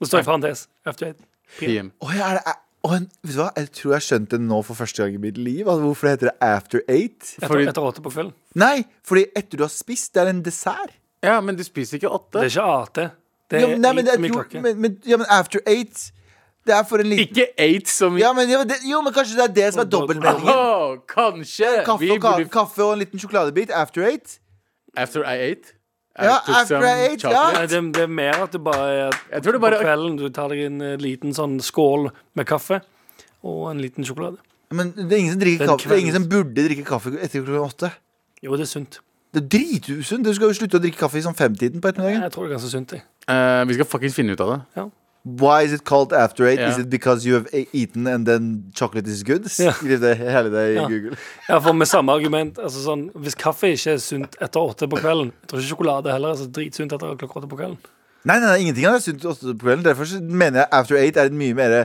Det står i parentes. After eight.
PM.
Å, ja, er det a- å, en- vet du hva? Jeg tror jeg skjønte det nå for første gang i mitt liv. Altså, hvorfor det heter det after 8?
Etter,
Fordi-
etter åtte på kvelden.
Nei, fordi etter du har spist, det er en dessert.
Ja, men du spiser ikke åtte.
Det er ikke AT. Det
Ja,
er
men, nei, men,
eight
jeg
med
tror,
klokke.
men, men, ja, men after 8 Det er for en liten
Ikke eight som
Ja, men, ja, men det, jo, men kanskje det er det som er dobbeltmeldingen.
Åh, kanskje!
Kaffe
Vi
og, ka
burde-
kaffe og en liten sjokoladebit. After eight.
After I ate. I
Ja,
took
after
some
I ate, ja.
chocolate.
Nei, det, det er mer at det bare er at
Jeg tror det bare-
på kvelden du tar deg en eh, liten sånn skål med kaffe og en liten sjokolade.
Men det er ingen som, drikker
Den
kaffe, det er ingen
kvelden.
som burde drikke kaffe etter klokken åtte.
Jo, det er sunt.
Det er dritusunt. Du skal jo slutte å drikke kaffe i sånn femtiden på ettermiddagen.
Jeg tror det er ganske sunt, jeg.
Eh, vi skal fuckings finne ut av det.
Why is it called after eight?
Ja.
Is it because you have e- eaten and then chocolate is good?
Ja.
Skriv det hele det i
Ja.
Google.
Ja, for med samme argument. Altså sånn, hvis kaffe ikke er sunt etter åtte på kvelden Jeg tror ikke sjokolade heller er så dritsunt etter klokka åtte på kvelden.
Nei, nei, nei, ingenting av det er sunt åtte på kvelden. Derfor så mener jeg after eight er et mye mer,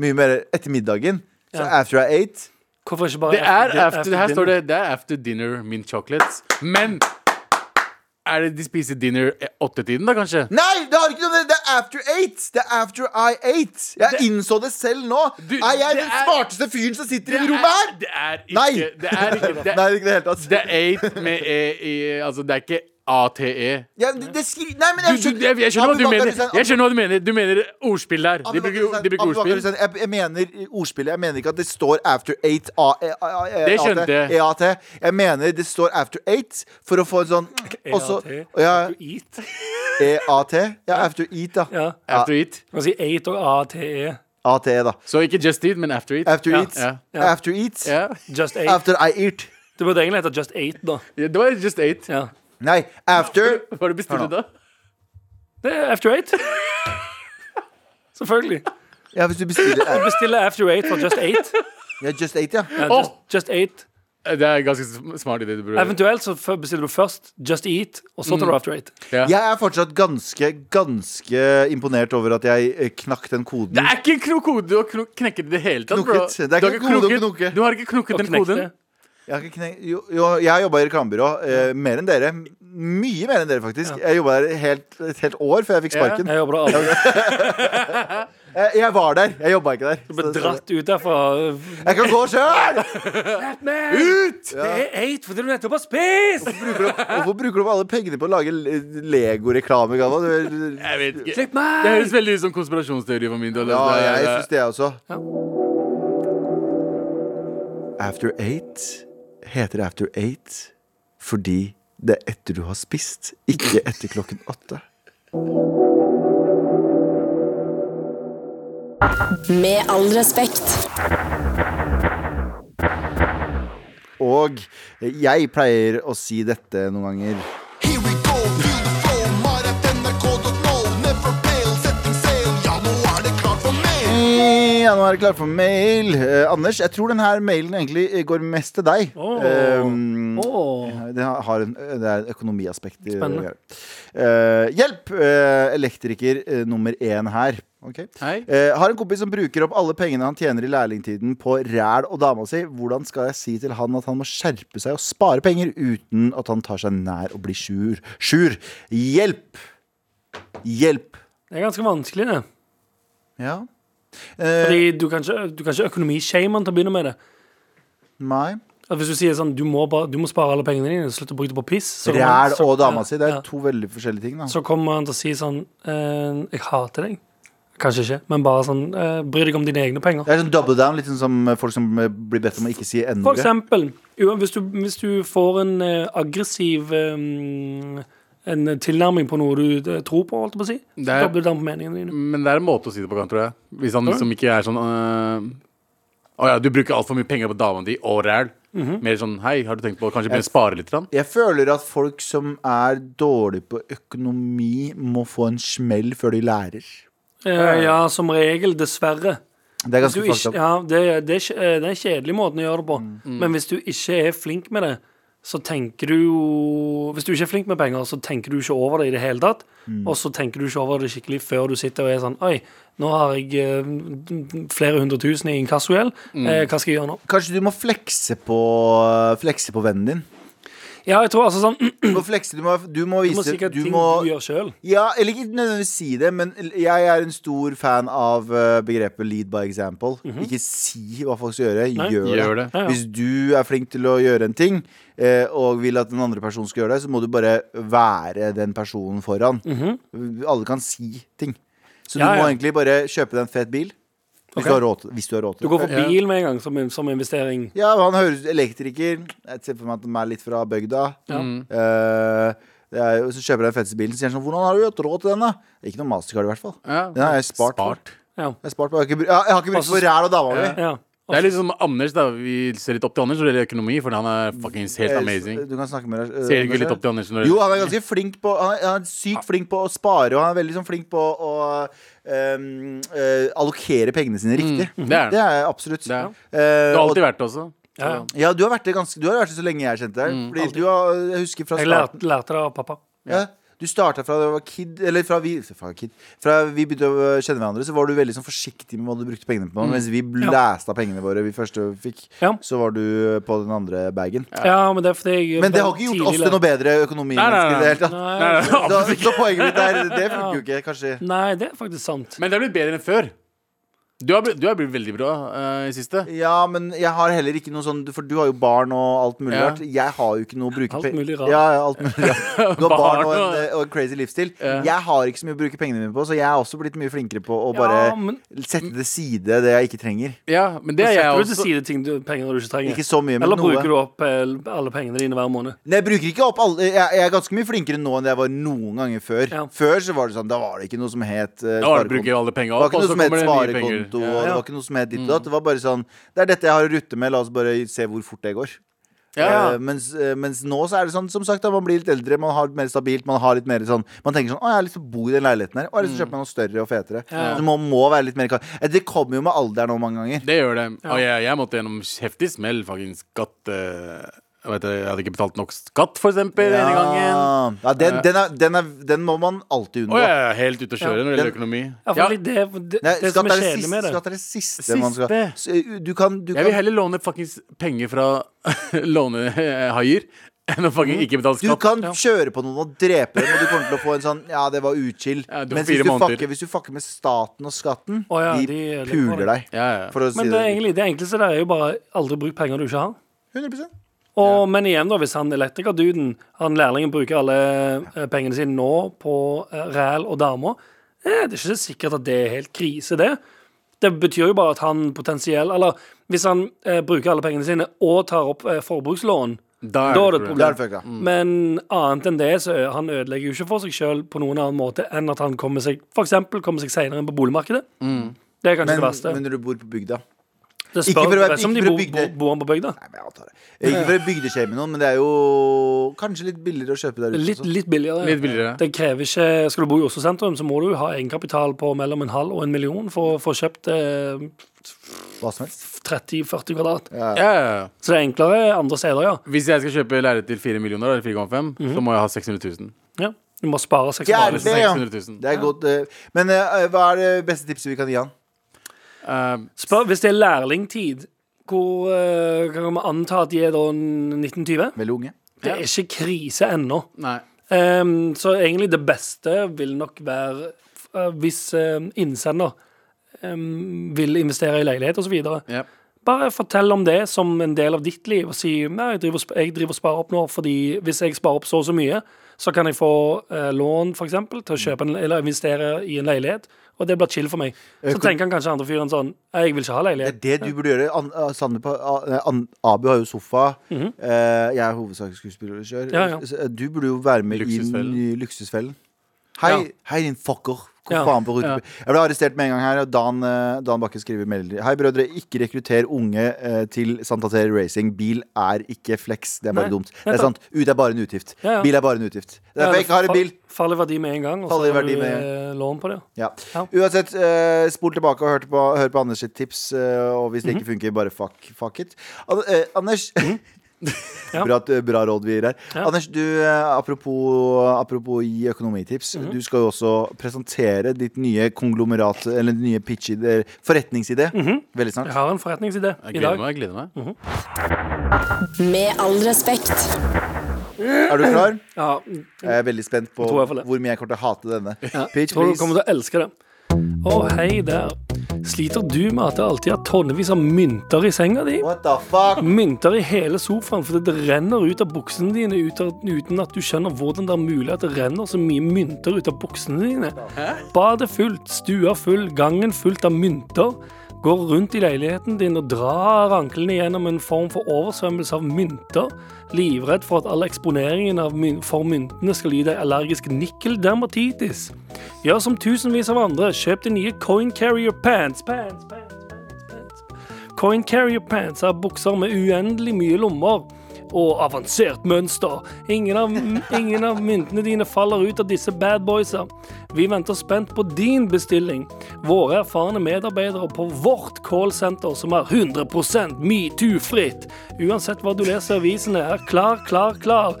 mye mer etter middagen. Så
Ja.
after eight
Hvorfor ikke bare
Det er after, her
dinner?
står det Det er after dinner mint chocolates. Men er det de spiser dinner eh, åttetiden, da, kanskje?
Nei, det har ikke noe med det. Det er after eight. Det er after I ate. Jeg innså det selv nå.
Du,
er jeg
det
den
er-
smarteste fyren som sitter i rommet her?
Det er ikke
Nei.
Det er ikke det.
Nei, ikke i det hele tatt.
Det er eight med e i Altså, det er ikke ATE.
Ja, det, det skri... Nei, men
Du,
jeg
du, jeg, jeg, skjønner hva du
Abu Bakar
mener.
Hussein,
jeg skjønner hva du mener. Du mener ordspill der.
Abu
De
Bakar
bruker,
Hussein,
de bruker
Abu Bakar
ordspill.
Hussein, Jeg, jeg mener ordspillet. Jeg mener ikke at det står after eight A, E- A, A, E-
Det
A-
skjønte jeg.
E- A- T. Jeg mener det står after eight for å få en sånn
E-
Og så
EAT.
ja,
Du eat.
EAT. Ja, after eat, da.
Ja.
After eat.
Man sier eight og E. ATE.
AT, da.
Så ikke just eat, men after eat.
After
Ja,
eat.
ja,
ja.
After eat.
Ja.
Just eight.
After I eat.
Det burde egentlig hete just eight, da.
Ja, Det var just eight.
Ja.
Nei, after
Hva har du bestilt da?
Det er after eight. Selvfølgelig.
Ja, hvis du bestiller
Bestille after eight for just eight.
Ja, Just Eight, ja.
Ja,
Åh!
just, just eight.
Det er ganske sm- smart idé du burde
Eventuelt så f- bestiller du først Just Eat, og så tar du After Eight.
ja.
Jeg er fortsatt ganske, ganske imponert over at jeg eh, knakk den koden.
Det er ikke en kro- kode du har kno- knekket i det hele tatt, bro.
Knokket. Det er
Du har
ikke en kode å knokke.
Du har ikke knokket
Og
den
knekk
koden.
det.
Jeg, har ikke kne- jo, jo, jeg jobba i reklamebyrå. eh, mer enn dere. Mye mer enn dere, faktisk. Jeg jobba der helt, et helt år før jeg fikk sparken.
Jeg jobber der aldri.
Eh, Jeg var der. Jeg jobba ikke der.
Du ble
Så- så-
dratt ut derfra.
Jeg kan gå sjøl!
Ut! Det er eight fordi du nettopp har spist!
Hvorfor bruker du opp alle pengene på å lage le- Lego-reklame? Galvan? Du-
Jeg vet ikke.
Slipp meg!
Det høres veldig ut som konspirasjonsteori for min del.
Ja,
altså. Det er- eh,
jeg syns det, jeg også.
Ja.
After Eight heter After Eight fordi det er etter du har spist, ikke etter klokken åtte.
Med all respekt.
Og jeg pleier å si dette noen ganger.
Here we go, vi flow, maratnrk.no. Never fail, setting sail. Ja, nå er det klart for mer.
Ja, nå er det klart for mail. Eh, Anders, jeg tror denne mailen egentlig eh, går mest til deg.
Åh.
Um,
Åh.
Det, har en, det er et økonomiaspekt. i det å
Spennende.
gjøre. Eh, hjelp! eh, elektriker eh, nummer én her. Ok.
Hei.
Eh, har en kompis som bruker opp alle pengene han tjener i lærlingtiden på ræl og dama si. Hvordan skal jeg si til han at han må skjerpe seg og spare penger uten at han tar seg nær og blir sjur? Sjur! Hjelp! Hjelp!
Det er ganske vanskelig, det.
Ja.
Fordi du kan ikke, du kan ikke økonomishame han til å begynne med det.
Nei.
At hvis du sier sånn, du må, bare, du må spare alle pengene dine, slutt å bruke det på piss så kommer han-
Ræl og dama si. Det
ja.
er to veldig forskjellige ting. da
Så kommer han til å si sånn eh, Jeg hater deg. Kanskje ikke, men bare sånn eh, Bry deg om dine egne penger.
Det er sånn double down, litt sånn som folk som eh, blir bedt om å ikke si
For
n-ordet.
eksempel, jo, hvis du, hvis du får en eh, aggressiv eh, en tilnærming på noe du eh, tror på, holdt jeg på å si.
Det
Da
er-
blir det den på meningene dine.
Men det er en måte å si det på, kan, tror jeg. Hvis han liksom ikke er sånn øh, Å ja, du bruker altfor mye penger på dama di og ræl. Mer sånn hei, har du tenkt på å kanskje begynne å spare litt? Grann?
Jeg føler at folk som er dårlige på økonomi, må få en smell før de lærer.
Eh, ja, som regel, dessverre.
Det er
Hvis
ganske
du ikke,
fucked up.
ja, det, det, er, kj- eh, det er en kjedelig måte å gjøre det på.
Mm.
Men hvis du ikke er flink med det, så tenker du jo Hvis du ikke er flink med penger, så tenker du ikke over det i det hele tatt.
Mm.
Og så tenker du ikke over det skikkelig før du sitter og er sånn Oi, nå har jeg eh, flere hundre tusen i inkassogjeld.
Mm.
Eh, hva skal jeg gjøre nå?
Kanskje du må flekse på, flekse på vennen din.
Ja, jeg tror altså sånn
Du må flekse, du må, du må
Du må
vise
sikkert
du
ting
må,
du gjør sjøl.
ja, Eller ikke nødvendigvis si det, men jeg er en stor fan av eh, begrepet lead by example. Ikke si hva folk skal gjøre,
Mhm. Nei.
gjør,
Gjør
det.
det.
Ja, ja.
Hvis du er flink til å gjøre en ting, eh, og vil at den andre personen skal gjøre det, så må du bare være den personen foran. Alle kan si ting. Så
Mhm. Ja,
du må
ja.
egentlig bare kjøpe deg en fet bil. Hvis
Ok.
du har råd til- hvis du har råd til
Du
det.
går for
Ja.
bil med en gang som, som investering.
Ja, han høres elektriker. Jeg ser for meg at han er litt fra bygda.
Ja.
Mm.
Eh, det er jo, så kjøper jeg den feteste bilen, så sier han sånn Hvordan har du hatt råd til den, da? Ikke noe mastercard, i hvert fall.
Ja.
Den har jeg spart. for.
Ja.
Jeg, har spart, for. jeg har ikke bru- jeg har ikke brukt for ræl og dama mi.
Altså, ja.
Det er litt som Anders, da. Vi ser litt opp til Anders når det gjelder økonomi, for han er fuckings helt amazing.
Du kan snakke med deg. eh,
Ser ikke
Anders,
litt opp til Anders når det
Jo, han er ganske flink på Han er, han er sykt flink på å spare, og han er veldig sånn flink på å ehm, eh, allokere pengene sine riktig.
Mm. det er han.
det er jeg absolutt.
Det er han.
Eh,
Du har
og-
alltid vært det også.
ja. ja.
ja, du har vært det ganske Du har vært det så lenge jeg kjente deg.
Mm.
fordi du har, jeg husker fra
Jeg
starten
lærte, lærte det av pappa.
Ja. Du starta fra du var kid, eller fra vi, fra, kid, fra vi begynte å kjenne hverandre, så var du veldig sånn forsiktig med hva du brukte pengene på. Mens vi
Ja.
blæsta pengene våre vi første fikk,
Ja.
så var du på den andre bagen.
Ja, men det er fordi jeg
Men det har ikke gjort oss til noe bedre
Nei, nei,
økonomimennesker i det
nei.
hele tatt.
Nei, nei, nei.
Så, så poenget mitt er det funker jo ikke, kanskje.
Nei, det er faktisk sant.
Men det er blitt bedre enn før. Du har blitt, du har blitt veldig bra eh, i siste.
Ja, men jeg har heller ikke noe sånn For du har jo barn og alt mulig
Ja.
rart. Jeg har jo ikke noe å bruke
Alt
pe-
mulig rart.
Ja, ja, alt mulig rart. Du har barn
Barn
og en,
og-
eh, og en crazy livsstil.
Ja.
Jeg har ikke så mye å bruke pengene mine på, så jeg er også blitt mye flinkere på å bare
ja, men
sette til side det jeg ikke trenger.
Ja, men det er jeg
setter du til
også.
side ting du, penger du ikke trenger.
Ikke så mye, men
Eller
noe.
bruker du opp eh, alle pengene dine hver måned?
Men jeg bruker ikke opp alle Jeg, jeg er ganske mye flinkere nå enn jeg var noen ganger før.
Ja.
Før så var det sånn, da var det ikke noe som het eh,
Da
sparekonto.
bruker jeg alle
Det
penga
var
opp,
ikke noe
og så
som het
kommer det nye penger.
sparekonto.
Ja. Mm.
Og det var ikke noe som het ditt og datt. Det var bare sånn Det er dette jeg har å rutte med, la oss bare se hvor fort det går.
Ja.
Eh, mens, eh, mens nå så er det sånn, som sagt, da, man blir litt eldre, man har litt mer stabilt. Man har litt mer sånn Man tenker sånn Å, jeg har lyst til å bo i den leiligheten her. Å, jeg har
Mm.
lyst til å kjøpe meg noe større og fetere. Så man må være litt mer klar. Eh, Det kommer jo med alderen òg, mange ganger.
Det gjør det. Og jeg, jeg måtte gjennom heftig smell, fuckings skatt eh, jeg, vet, jeg hadde ikke betalt nok skatt, for eksempel, denne gangen.
ja den, den, er, den, er, den må man alltid
Å,
unngå.
jeg er helt ute å kjøre når det gjelder økonomi.
Ja, for
Ja,
det, det, det,
Nei,
det
skatt,
som
er
er
det
kjedelig
siste,
med det
skatt er det siste, man skal
Siste.
Så, eh, Du kan, du
jeg vil
kan,
heller låne fuckings penger fra Låne eh, haier enn å fucking ikke betale
du
skatt.
kan kjøre på noen og drepe dem, og du kommer til å få en sånn Ja, det var uchill.
Ja, du får
Mens
fire
hvis du,
måneder.
fucker, hvis du fucker med staten og skatten,
Å ja,
de
de lever på
puler
det.
deg.
Ja, ja.
For å si
Men det,
det
er egentlig, det enkleste der er jo bare aldri bruk penger du ikke har.
100
Og, Men igjen, da, hvis han elektrikerduden, han lærlingen, bruker alle eh, pengene sine nå på eh, ræl og damer, eh, det er ikke sikkert at det er helt krise, det. Det betyr jo bare at han potensiell Eller hvis han eh, bruker alle pengene sine og tar opp eh, forbrukslån,
Da er
da
det
er det
et
et
problem.
Da er sånn. det
problem.
fucka.
Mm.
Men annet enn det, så ø- han ødelegger jo ikke for seg sjøl på noen annen måte enn at han kommer seg for eksempel, kommer seg seinere inn på boligmarkedet.
Mm.
Det er kanskje
Men,
det verste.
men når du bor på bygda
det
ikke
spør
for å være-
det er som
ikke for
de
å
bor,
bygge
bor,
det.
bor han på bygda.
Nei, men jeg antar det. Eh, Ikke for å bygdeskjemme noen, men det er jo kanskje litt billigere å kjøpe der ute.
Litt,
også.
litt billigere.
Litt billigere.
Det krever ikke Skal du bo i Oslo sentrum, så må du ha egenkapital på mellom en halv og en million for å få kjøpt eh,
Hva som helst.
30-40 kvadrat.
Ja, ja, ja.
Så det er enklere andre steder, ja.
Hvis jeg skal kjøpe leilighet til 4 millioner, eller 4,5, så må jeg ha 600 000.
ja. Du må spare seks
Jævlig.
måneder.
Det, ja.
600 000.
Det er godt. eh, Men eh, hva er det beste tipset vi kan gi han?
Eh,
Spør, hvis det er lærlingtid, hvor eh, kan vi anta at de er da 1920?
Veldig unge.
Det er ikke krise ennå.
nei.
Ehm, så egentlig det beste vil nok være eh, hvis ehm, innsender ehm, vil investere i leilighet osv.
Ja.
Bare fortell om det som en del av ditt liv, og si nei, jeg driver, og sp- jeg driver og sparer opp nå, fordi hvis jeg sparer opp så og så mye, så kan jeg få eh, lån for eksempel,
Mm.
til å kjøpe en, eller investere i en leilighet, og det blir chill for meg. Så tenker han kanskje andre fyren sånn «Nei, Jeg vil ikke ha
Det er
leilighet.
det du burde gjøre. An, ah, Sander på, ah, eh, an, Abu har jo sofa. Eh, jeg er hovedsaksskuespiller og kjører.
Mhm. Ja, ja.
Så, eh, Du burde jo være med
Luksusfellen.
i, i Luksusfellen. Hei,
Ja.
hei din fucker. Kom
Ja,
faen på rute.
ja.
Jeg ble arrestert med en gang her. Og Dan, eh, Dan Bakke skriver meldinger. Hei, brødre. Ikke rekrutter unge eh, til Santater Racing. Bil er ikke flex. Det er bare
Nei,
dumt. Det er
nettopp.
sant. Ut er bare en utgift.
Ja, ja.
Bil er bare en utgift. Det er derfor jeg ikke har en bil.
Faller i verdi med en gang, og
Faller i
så har
verdi
du
med-
eh, lån på det.
Ja.
Ja.
Uansett, eh, spol tilbake og hør på, hør på Anders sitt tips. eh, og hvis det
Mhm.
ikke funker, bare fuck, fuck it. An eh, Anders
Ja.
bra, at- bra råd vi gir her.
Ja.
Anders, du, eh, apropos, apropos gi økonomitips.
Mhm.
Du skal jo også presentere ditt nye konglomerat, eller ditt nye pitch, eh, forretningsidé,
Mhm.
veldig snart.
Jeg har en forretningsidé
Jeg
i
gleder
dag.
meg. jeg gleder meg
Med all respekt.
Er du klar?
Ja,
Jeg er veldig spent på
tror jeg får det.
hvor mye jeg kommer til å hate denne. Pitch,
Tror du kommer
please.
til å elske det. Å, hei der. Sliter du med at det alltid er tonnevis av mynter i senga di?
What the fuck?
Mynter i hele sofaen fordi det renner ut av buksene dine ut av- uten at du skjønner hvordan det er mulig at det renner så mye mynter ut av buksene dine. Badet fullt, stua full, gangen fullt av mynter. Går rundt i leiligheten din og drar anklene gjennom en form for oversvømmelse av mynter. Livredd for at all eksponeringen av myn for myntene skal gi deg allergisk nikkeldermatitis. Gjør som tusenvis av andre. Kjøp de nye Coin Carrier Pants. pants, pants, pants, pants. Coin Carrier Pants er bukser med uendelig mye lommer og avansert mønster. Ingen av, ingen av myntene dine faller ut av disse bad boysa. Vi venter spent på din bestilling. Våre erfarne medarbeidere på vårt callsenter, som er 100 metoo-fritt. Uansett hva du leser i avisene, er klar, klar, klar.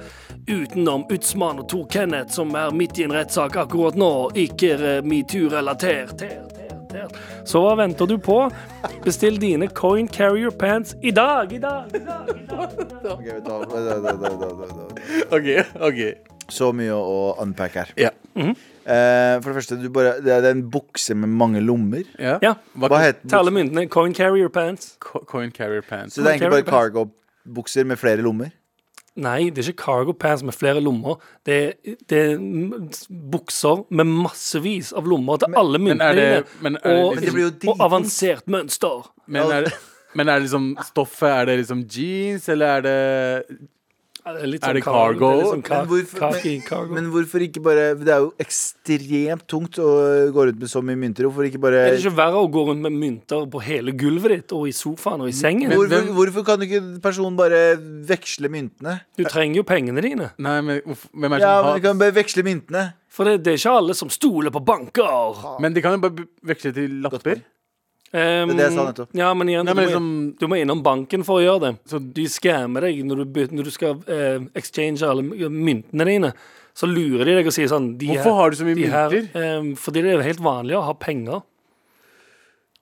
Utenom Utsman og Tor Kenneth, som er midt i en rettssak akkurat nå. Ikke eh, metoo-relatert. Ter, ter, ter. Så hva venter du på? Bestill dine Coin Carrier Pants i dag! I dag, i dag, i dag.
Ok, vi tar- da, da, da, da, da, da.
Ok, ok
Så mye å unpack her.
Ja.
Eh, for det første, du bare, det er det er en bukse med mange lommer.
Ja.
Hva heter
Til alle
buksen?
myntene. Coin Carrier Pants.
Co- Coin carrier pants.
Så det er egentlig
Carrier
bare cargo-bukser med flere lommer?
Nei, det er ikke cargo pants med flere lommer. Det er, det er m- bukser med massevis av lommer til alle myntene
er det-
dine.
men er det
og,
liksom- Men det
blir jo
og
dritdyrt.
avansert mønster.
Men er det men er det liksom stoffet Er det liksom jeans, eller er det
Litt
Er det
kar-
cargo?
litt sånn ka-
Men hvorfor,
kaki,
men,
cargo.
men hvorfor ikke bare Det er jo ekstremt tungt å gå rundt med så mye mynter. Hvorfor ikke bare
er det ikke verre å gå rundt med mynter på hele gulvet ditt og i sofaen og i sengen?
hvorfor,
hvem-
hvorfor kan ikke personen bare veksle myntene?
Du trenger jo pengene dine.
Nei, men hvorf- hvem er det
Ja, men
som har
du kan bare veksle myntene.
For det, det er ikke alle som stoler på banker.
Men de kan jo bare b- veksle til lapper.
Um,
Det er det jeg sa nettopp.
Ja, men igjen,
Nei, men
du, må,
liksom-
du må innom banken for å gjøre det. Så de skammer deg når du, byt- når du skal eh, exchange alle myntene dine. Så lurer de deg og sier sånn de
Hvorfor har du så mye
de her,
mynter?
eh, fordi det er helt vanlig å ha penger.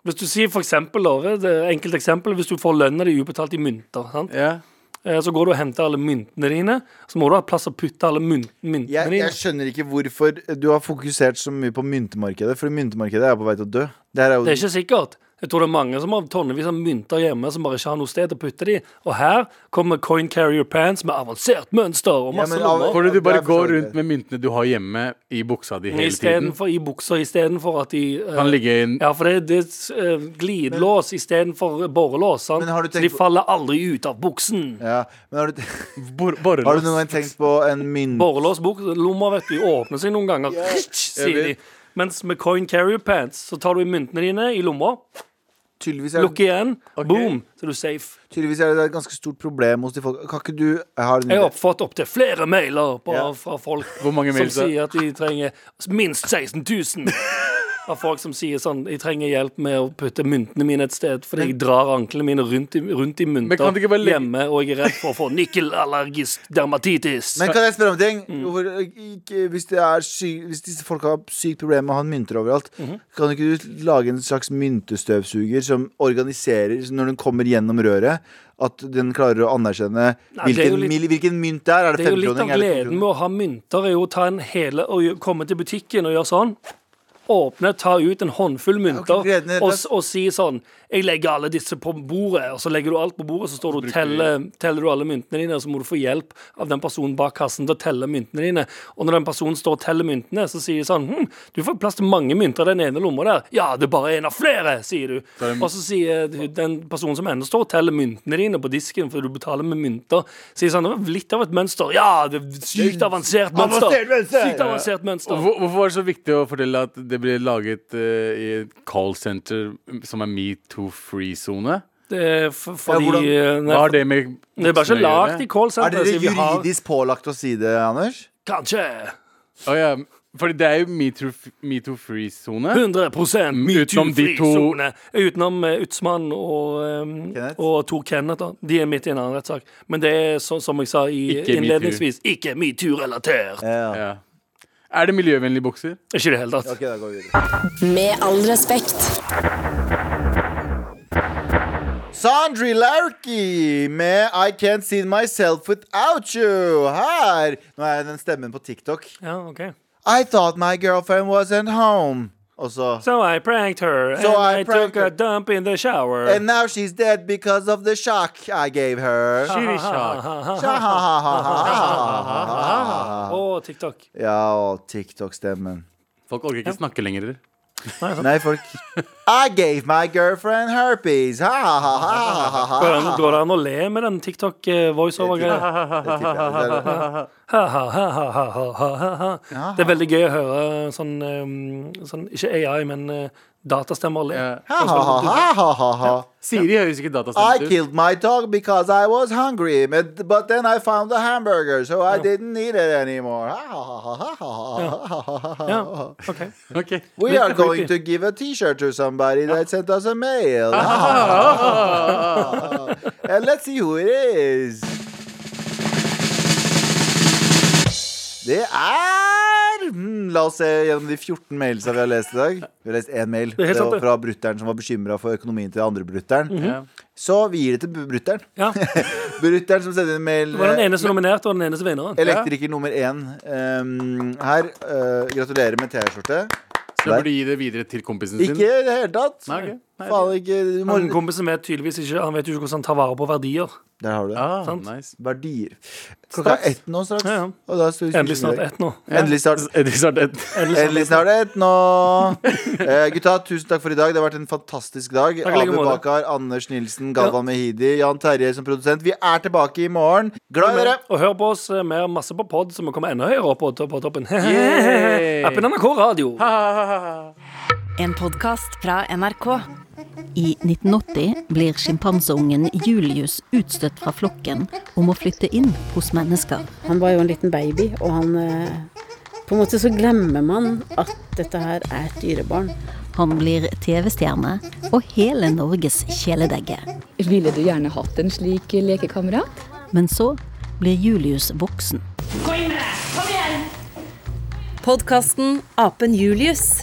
Hvis du sier for eksempel, da, det er et enkelt eksempel, hvis du får lønna di ubetalt i mynter, sant?
Ja.
Eh, så går du og henter alle myntene dine, så må du ha plass å putte alle mynt, myntene
Jeg,
dine.
jeg skjønner ikke hvorfor du har fokusert så mye på myntemarkedet, for myntemarkedet er på vei til å dø. Det her er jo
Det er ikke sikkert. Jeg tror det er mange som har tonnevis av mynter hjemme som bare ikke har noe sted å putte de. Og her kommer coin carrier pants med avansert mønster
Ja,
og masse
men av-
lommer.
Fordi du
Det
bare
er for så
går
vidt
rundt
det.
med myntene du har hjemme i buksa di hele tiden.
Istedenfor i buksa, istedenfor at de eh,
Kan ligge i en
Ja, for det, det er uh, glidelås istedenfor borelås. Sant?
Men har du
Så
tenkt
de
på-
faller aldri ut av buksen.
ja, men har, du,
bor borrelås.
har du noen gang tenkt på en mynt
Borelås lommer vet du, åpner seg noen ganger. sier de.
vet.
Mens med coin carrier pants så tar du myntene dine i lomma,
Tydeligvis er,
lukker igjen, boom, så er du safe.
tydeligvis er det et ganske stort problem hos de folk Kan ikke du jeg har en
Jeg har
idé.
fått opptil flere mailer på,
Ja.
fra folk
Hvor mange
som
mails er det?
sier at de trenger minst 16 000. Av folk som sier sånn Jeg trenger hjelp med å putte myntene mine et sted, fordi jeg drar anklene mine rundt i, rundt i mynter
kan du ikke bare legge-
hjemme, og jeg er redd for å få nikkelallergisk dermatitis.
Men kan jeg spørre om en ting?
Mm.
Hvorfor, ikke, hvis, det er sy, hvis disse folka har sykt problem med å ha mynter overalt,
Mhm.
kan ikke du lage en slags myntestøvsuger som organiserer, så når den kommer gjennom røret, at den klarer å anerkjenne
Nei, det er jo
hvilken, mil-
litt-
hvilken mynt det er? Er det
det er jo litt av
femkroning? Er det
gleden
kroning?
med å ha mynter, er jo å ta en hele og gjø- komme til butikken og gjøre sånn. Åpne, ta ut en håndfull mynter
ikke gleden i det
og, s- og si sånn Jeg legger alle disse på bordet, og så legger du alt på bordet, så står du og teller, teller du alle myntene dine, og så må du få hjelp av den personen bak kassen til å telle myntene dine. Og når den personen står og teller myntene, så sier de sånn hm, Du får plass til mange mynter i den ene lomma der. Ja, det er bare en av flere, sier du. Og så sier du- den personen som ennå står og teller myntene dine på disken fordi du betaler med mynter, sier sånn Det var litt av et mønster. Ja, det er sykt avansert mønster.
Avansert mønster.
Sykt avansert mønster.
Og hvor- Hvorfor var det så viktig å fortelle at det ble laget eh, i et callsenter som er metoo-free-sone?
Det er f- fordi
hvordan-
eh, nei,
Hva har det med
Det er bare ikke lagd i
Er
callsenteret.
dere
siden vi har-
juridisk pålagt å si det, Anders?
Kanskje
Å ja. Fordi det er jo metoo- metoo-free-sone.
100
Utenom de to-
metoo-frisone. Utenom eh, Utsmann og, eh,
Kenneth?
og Tor Kenneth. da. De er midt i en annen rettssak. Men det er sånn som jeg sa i
Ikke
innledningsvis, ikke metoo-relatert.
Ja.
Ja. Er det miljøvennlige bukser?
Ikke i det hele tatt.
Ok, da går vi videre.
Med all respekt.
Sandri Larky med I Can't See Myself Without You her. Nå er jeg den stemmen på TikTok.
Ja, ok.
I thought my girlfriend wasn't home. Og så
So I pranked her,
So
and
I
I, took
pranked her.
a dump in the shower.
And now she's dead because of the shock I gave her. Ah.
Å, TikTok.
Ja, og TikTok-stemmen.
Folk orker ikke snakke lenger.
Nei, folk I gave my girlfriend herpes. Ha, ha, ha, ha, ha, ha.
Går det an- går det an å le med den eh, TikTok-voiceover-greia?
Det tipper jeg. Det er det.
Ha-ha-ha-ha-ha-ha-ha. Det er veldig gøy å høre sånn, um, sånn Ikke AI, men uh, datastemmer le.
Ha, ha, ha, ha, ha, ha, ha.
Siri høres ikke
I
datastemt ut.
killed my dog because I was hungry, but, but then I found a hamburger, so I didn't need it anymore. Ha, ha, ha, ha, ha, ha, ha, ha, ha.
Ja, ok
Ok.
We are going to give a T-shirt to somebody that sent us a mail.
Ah.
and let's see who it is. Det er hmm, La oss se gjennom de 14 mailsa vi har lest i dag. Vi har lest én mail
er helt sant,
fra,
det. Mhm.
fra brutter'n som var bekymra for økonomien til andre brutter'n. Så vi gir det til brutter'n.
ja. Det
Brutter'n som sender en mail. eh,
var den eneste nominerte og den eneste vinneren.
Elektriker nummer én um, her. eh, gratulerer med T-skjorte.
Så jeg burde gi det videre til kompisen sin.
Ikke i det hele tatt.
Nei, ok.
Faen ikke du må...
Han kompisen vet tydeligvis ikke Han vet jo ikke hvordan han tar vare på verdier.
Der har du det.
Ah,
Sant.
nice.
Verdier. Klokka er ett nå straks.
Ja, ja.
Og da står vi
Endelig snart
skuespiller.
ett nå.
Endelig snart
Edith Sardet.
Endelig snart ett nå. Eh, gutta, tusen takk for i dag. Det har vært en fantastisk dag.
i like
Abu
måte.
Bakar, Anders Nilsen, Galvan Mehidi, Jan Terje som produsent. Vi er tilbake i morgen. Glad i dere!
Og hør på oss eh, mer masse på pod, så vi kommer enda høyere opp på, på toppen.
Yay!
Appen NRK Radio.
En podkast fra NRK.
I 1980 blir sjimpanseungen Julius utstøtt fra flokken om å flytte inn hos mennesker.
Han var jo en liten baby, og han eh, På en måte så glemmer man at dette her er et dyrebarn.
Han blir TV-stjerne og hele Norges kjæledegge.
Ville du gjerne hatt en slik lekekamerat?
Men så blir Julius voksen.
Podkasten Apen Julius